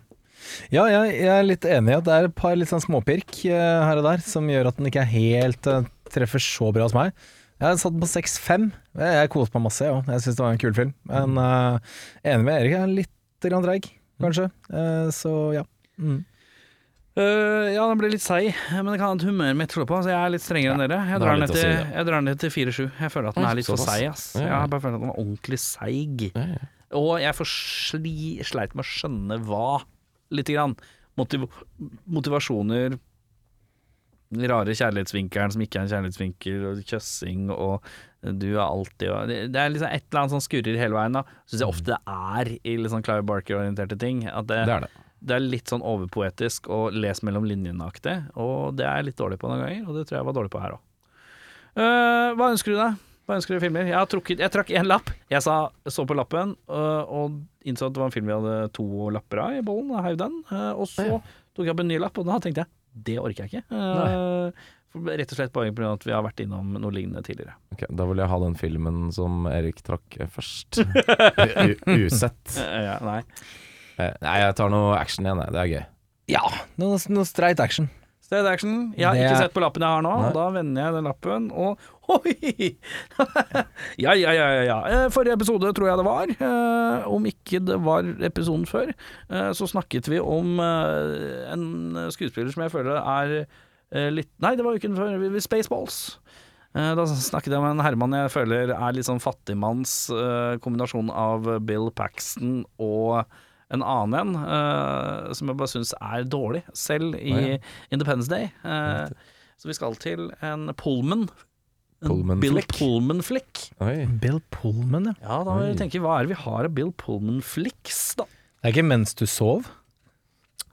[SPEAKER 4] jeg, jeg er litt enig i at det er et par litt sånn småpirk eh, her og der som gjør at den ikke er helt eh, treffer så bra hos meg. Jeg satt den på 6-5. Jeg, jeg koste meg masse, jeg òg. Jeg syns det var en kul film. Men eh, enig med Erik, jeg er litt grann treig, kanskje. Eh, så ja. Mm.
[SPEAKER 2] Eh, ja, den blir litt seig, men det kan ha et humør mitt tror jeg på. Så jeg er litt strengere enn dere. Jeg
[SPEAKER 5] det
[SPEAKER 2] drar
[SPEAKER 5] er
[SPEAKER 2] den
[SPEAKER 5] litt
[SPEAKER 2] ned
[SPEAKER 5] å si,
[SPEAKER 2] til,
[SPEAKER 5] det.
[SPEAKER 2] jeg drar den ned til 4-7. Jeg føler at den
[SPEAKER 5] Oi,
[SPEAKER 2] er litt for
[SPEAKER 5] såpass.
[SPEAKER 2] seig, ass.
[SPEAKER 5] Ja,
[SPEAKER 2] Jeg
[SPEAKER 5] ja.
[SPEAKER 2] har bare følt at den var ordentlig seig. Og jeg får sli, sleit med å skjønne hva, lite grann. Motiv motivasjoner den rare kjærlighetsvinkelen som ikke er en kjærlighetsvinkel, og kjøssing og du er alltid og Det det er liksom et eller annet som skurrer hele veien, da. Syns jeg ofte det er i litt sånn Clive Barker-orienterte ting. At det,
[SPEAKER 5] Det er det.
[SPEAKER 2] det er litt sånn overpoetisk og les mellom linjene-aktig, og det er jeg litt dårlig på noen ganger, og det tror jeg jeg var dårlig på her òg. hva ønsker du deg? Hva ønsker du i filmer? Jeg, har trukket, jeg trakk én lapp. Jeg sa, så på lappen øh, og innså at det var en film vi hadde to lapper av i bollen, og heiv den. Øh, og så tok jeg opp en ny lapp, og da tenkte jeg det orker jeg ikke. Øh, for- rett og slett bare pga. at vi har vært innom noe lignende tidligere.
[SPEAKER 5] Ok, da vil jeg ha den filmen som Erik trakk eh, først. U- u- Usett.
[SPEAKER 2] Eh, ja, nei.
[SPEAKER 5] Eh, Nei, jeg tar noe action igjen, jeg. det er gøy.
[SPEAKER 4] Ja, noe, noe streit action.
[SPEAKER 2] Straight action. Jeg har
[SPEAKER 4] Det
[SPEAKER 2] ikke
[SPEAKER 4] er-
[SPEAKER 2] sett på lappen jeg har nå.
[SPEAKER 5] Nei.
[SPEAKER 2] Da vender jeg den lappen, og Oi! ja, ja, ja, ja, ja. Eh, Forrige episode tror jeg det var. eh, Om ikke det var episoden før, eh, så snakket vi om eh, en skuespiller som jeg føler er eh, litt Nei, det var uken før. vi- vi- Spaceballs. Eh, Da snakket jeg om en herremann jeg føler er litt sånn fattigmanns eh, kombinasjon av Bill Paxton og en annen en, eh, som jeg bare syns er dårlig, selv i Independence Day. Eh, så vi skal til en Pullman. En
[SPEAKER 5] Pullman-flick.
[SPEAKER 2] Bill Pullman-flick.
[SPEAKER 5] Oi.
[SPEAKER 4] Bill Pullman, ja.
[SPEAKER 2] Ja, da må vi tenke hva er det vi har av Bill Pullman-flicks, da?
[SPEAKER 4] Det er ikke mens du sov.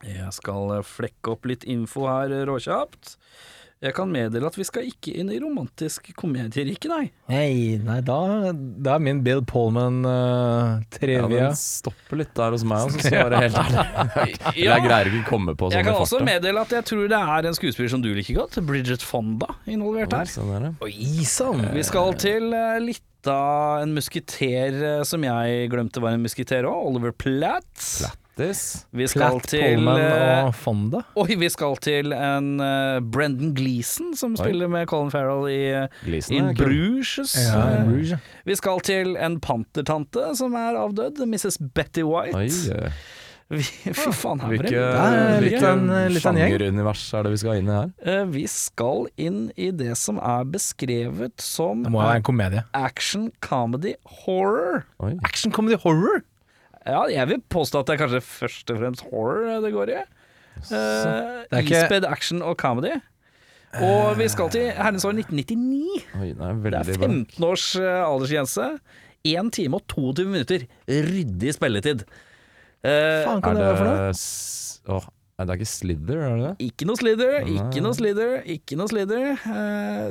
[SPEAKER 2] Jeg skal eh, flekke opp litt info her eh, råkjapt. Jeg kan meddele at vi skal ikke inn i romantisk komedierike, nei.
[SPEAKER 4] Nei, nei, da, da er min Bill eh,
[SPEAKER 5] Ja,
[SPEAKER 4] Pullman-trivia.
[SPEAKER 5] den stopper litt der hos meg også, så jeg, helt ærlig. jeg greier ikke å komme på sånn
[SPEAKER 2] Jeg kan også meddele at jeg tror det er en skuespiller som du liker godt, Bridget Fonda, involvert her.
[SPEAKER 5] Sånn er det.
[SPEAKER 4] Oi sann!
[SPEAKER 2] Vi skal til eh, litt av en musketer eh, som jeg glemte var en musketer òg, Oliver Platt.
[SPEAKER 5] This.
[SPEAKER 2] Vi skal
[SPEAKER 4] Platt,
[SPEAKER 2] til
[SPEAKER 4] Pullman
[SPEAKER 2] eh,
[SPEAKER 4] og Fonda.
[SPEAKER 2] Oi, vi skal til en eh, Brendan Gleeson som spiller med Colin Farrell i eh,
[SPEAKER 5] Gleason
[SPEAKER 2] In
[SPEAKER 5] er kul.
[SPEAKER 2] Bruges.
[SPEAKER 4] Ja,
[SPEAKER 2] Eh,
[SPEAKER 4] Rouge.
[SPEAKER 2] Vi skal til en pantertante som er avdød, Mrs. Betty White.
[SPEAKER 5] Oi, eh,
[SPEAKER 2] Vi, fy faen, her
[SPEAKER 5] hvilke,
[SPEAKER 4] er litt
[SPEAKER 5] hvilke
[SPEAKER 4] av en- litt av en gjeng.
[SPEAKER 5] sjangerunivers er det vi skal inn i her?
[SPEAKER 2] Eh, Vi skal inn i det som er beskrevet som
[SPEAKER 4] Det må jo være en komedie.
[SPEAKER 2] action, comedy, horror.
[SPEAKER 5] Oi.
[SPEAKER 4] Action comedy horror!
[SPEAKER 2] Ja, jeg vil påstå at det er kanskje først og fremst horror eh, det går i. Uh,
[SPEAKER 4] det er ikke-
[SPEAKER 2] Ispedd action og comedy. Og vi skal til herrens år 1999.
[SPEAKER 5] Oi, det er
[SPEAKER 2] Det
[SPEAKER 5] veldig
[SPEAKER 2] er
[SPEAKER 5] bra.
[SPEAKER 2] 15 års eh, aldersgrense. 1 time og 22 minutter ryddig spilletid. Eh,
[SPEAKER 4] Faen, kan
[SPEAKER 5] Er
[SPEAKER 4] det være for
[SPEAKER 5] det
[SPEAKER 4] noe?
[SPEAKER 5] s- Åh, nei, det er ikke Slither, er det det?
[SPEAKER 2] Ikke noe slidder, ikke noe slidder, ikke noe slidder.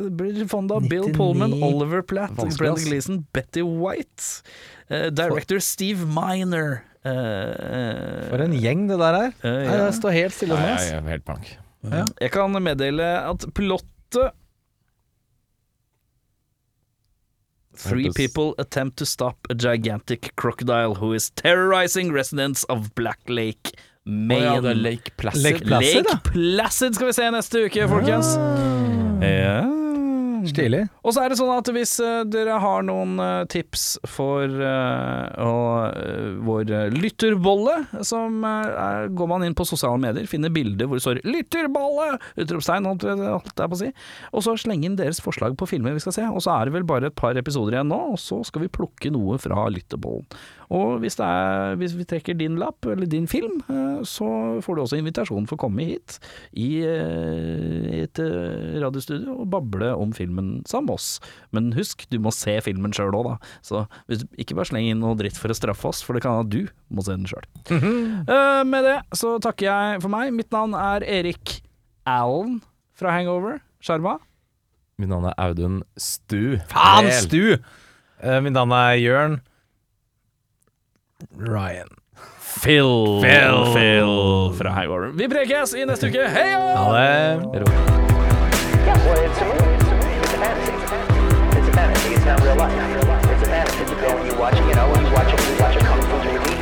[SPEAKER 2] Eh, Bridget Fonda, Bill
[SPEAKER 4] 99.
[SPEAKER 2] Pullman, Oliver Platt,
[SPEAKER 5] Vanskelig,
[SPEAKER 2] Brendan
[SPEAKER 5] ass.
[SPEAKER 2] Gleeson, Betty White. Eh, director Steve Miner. Eh, eh,
[SPEAKER 4] For en gjeng det der er.
[SPEAKER 2] eh,
[SPEAKER 4] Nei,
[SPEAKER 2] ja.
[SPEAKER 4] det står helt stille om
[SPEAKER 5] Nei,
[SPEAKER 4] meg.
[SPEAKER 5] jeg er helt blank.
[SPEAKER 2] Jeg kan meddele at plottet Three
[SPEAKER 5] Hørtes-
[SPEAKER 2] people attempt to stop a gigantic crocodile who is terrorizing residents of Black Lake, Maine.
[SPEAKER 5] Å ja, det er Lake Placid.
[SPEAKER 4] Lake Placid, da.
[SPEAKER 2] Lake Placid skal vi se neste uke, folkens. Ja.
[SPEAKER 4] Ah. Stilig.
[SPEAKER 2] Og så er det sånn at hvis eh, dere har noen eh, tips for eh, å, eh, vår eh, lytterbolle, som eh, er, går man inn på sosiale medier, finner bilder hvor det står 'lytterbolle!' utropstegn, holdt jeg holdt jeg på å si, og så slenge inn deres forslag på filmer vi skal se. Og så er det vel bare et par episoder igjen nå, og så skal vi plukke noe fra lytterbollen. Og hvis, det er, hvis vi trekker din lapp, eller din film, eh, så får du også invitasjon for å komme hit i eh, et eh, radiostudio og bable om filmen sammen med oss. Men husk, du må se filmen sjøl òg, da. Så hvis, ikke bare sleng inn noe dritt for å straffe oss, for det kan hende at du må se den sjøl. med det så takker jeg for meg. Mitt navn er Erik Allen fra Hangover. Sjarma.
[SPEAKER 5] Mitt navn er Audun Stu.
[SPEAKER 4] Faen,
[SPEAKER 5] Del.
[SPEAKER 4] Stu! Eh, mitt navn er Jørn Ryan.
[SPEAKER 2] Phil.
[SPEAKER 4] Phil.
[SPEAKER 2] Phil fra Hangover. Vi prekes i neste uke. Hei!
[SPEAKER 4] Ha det.
[SPEAKER 3] Yeah, well, it's a movie. It's a fantasy. It's a fantasy. It's not real life. It's a fantasy. You go and you watch, you know, you watch a, you watch a kung fu movie,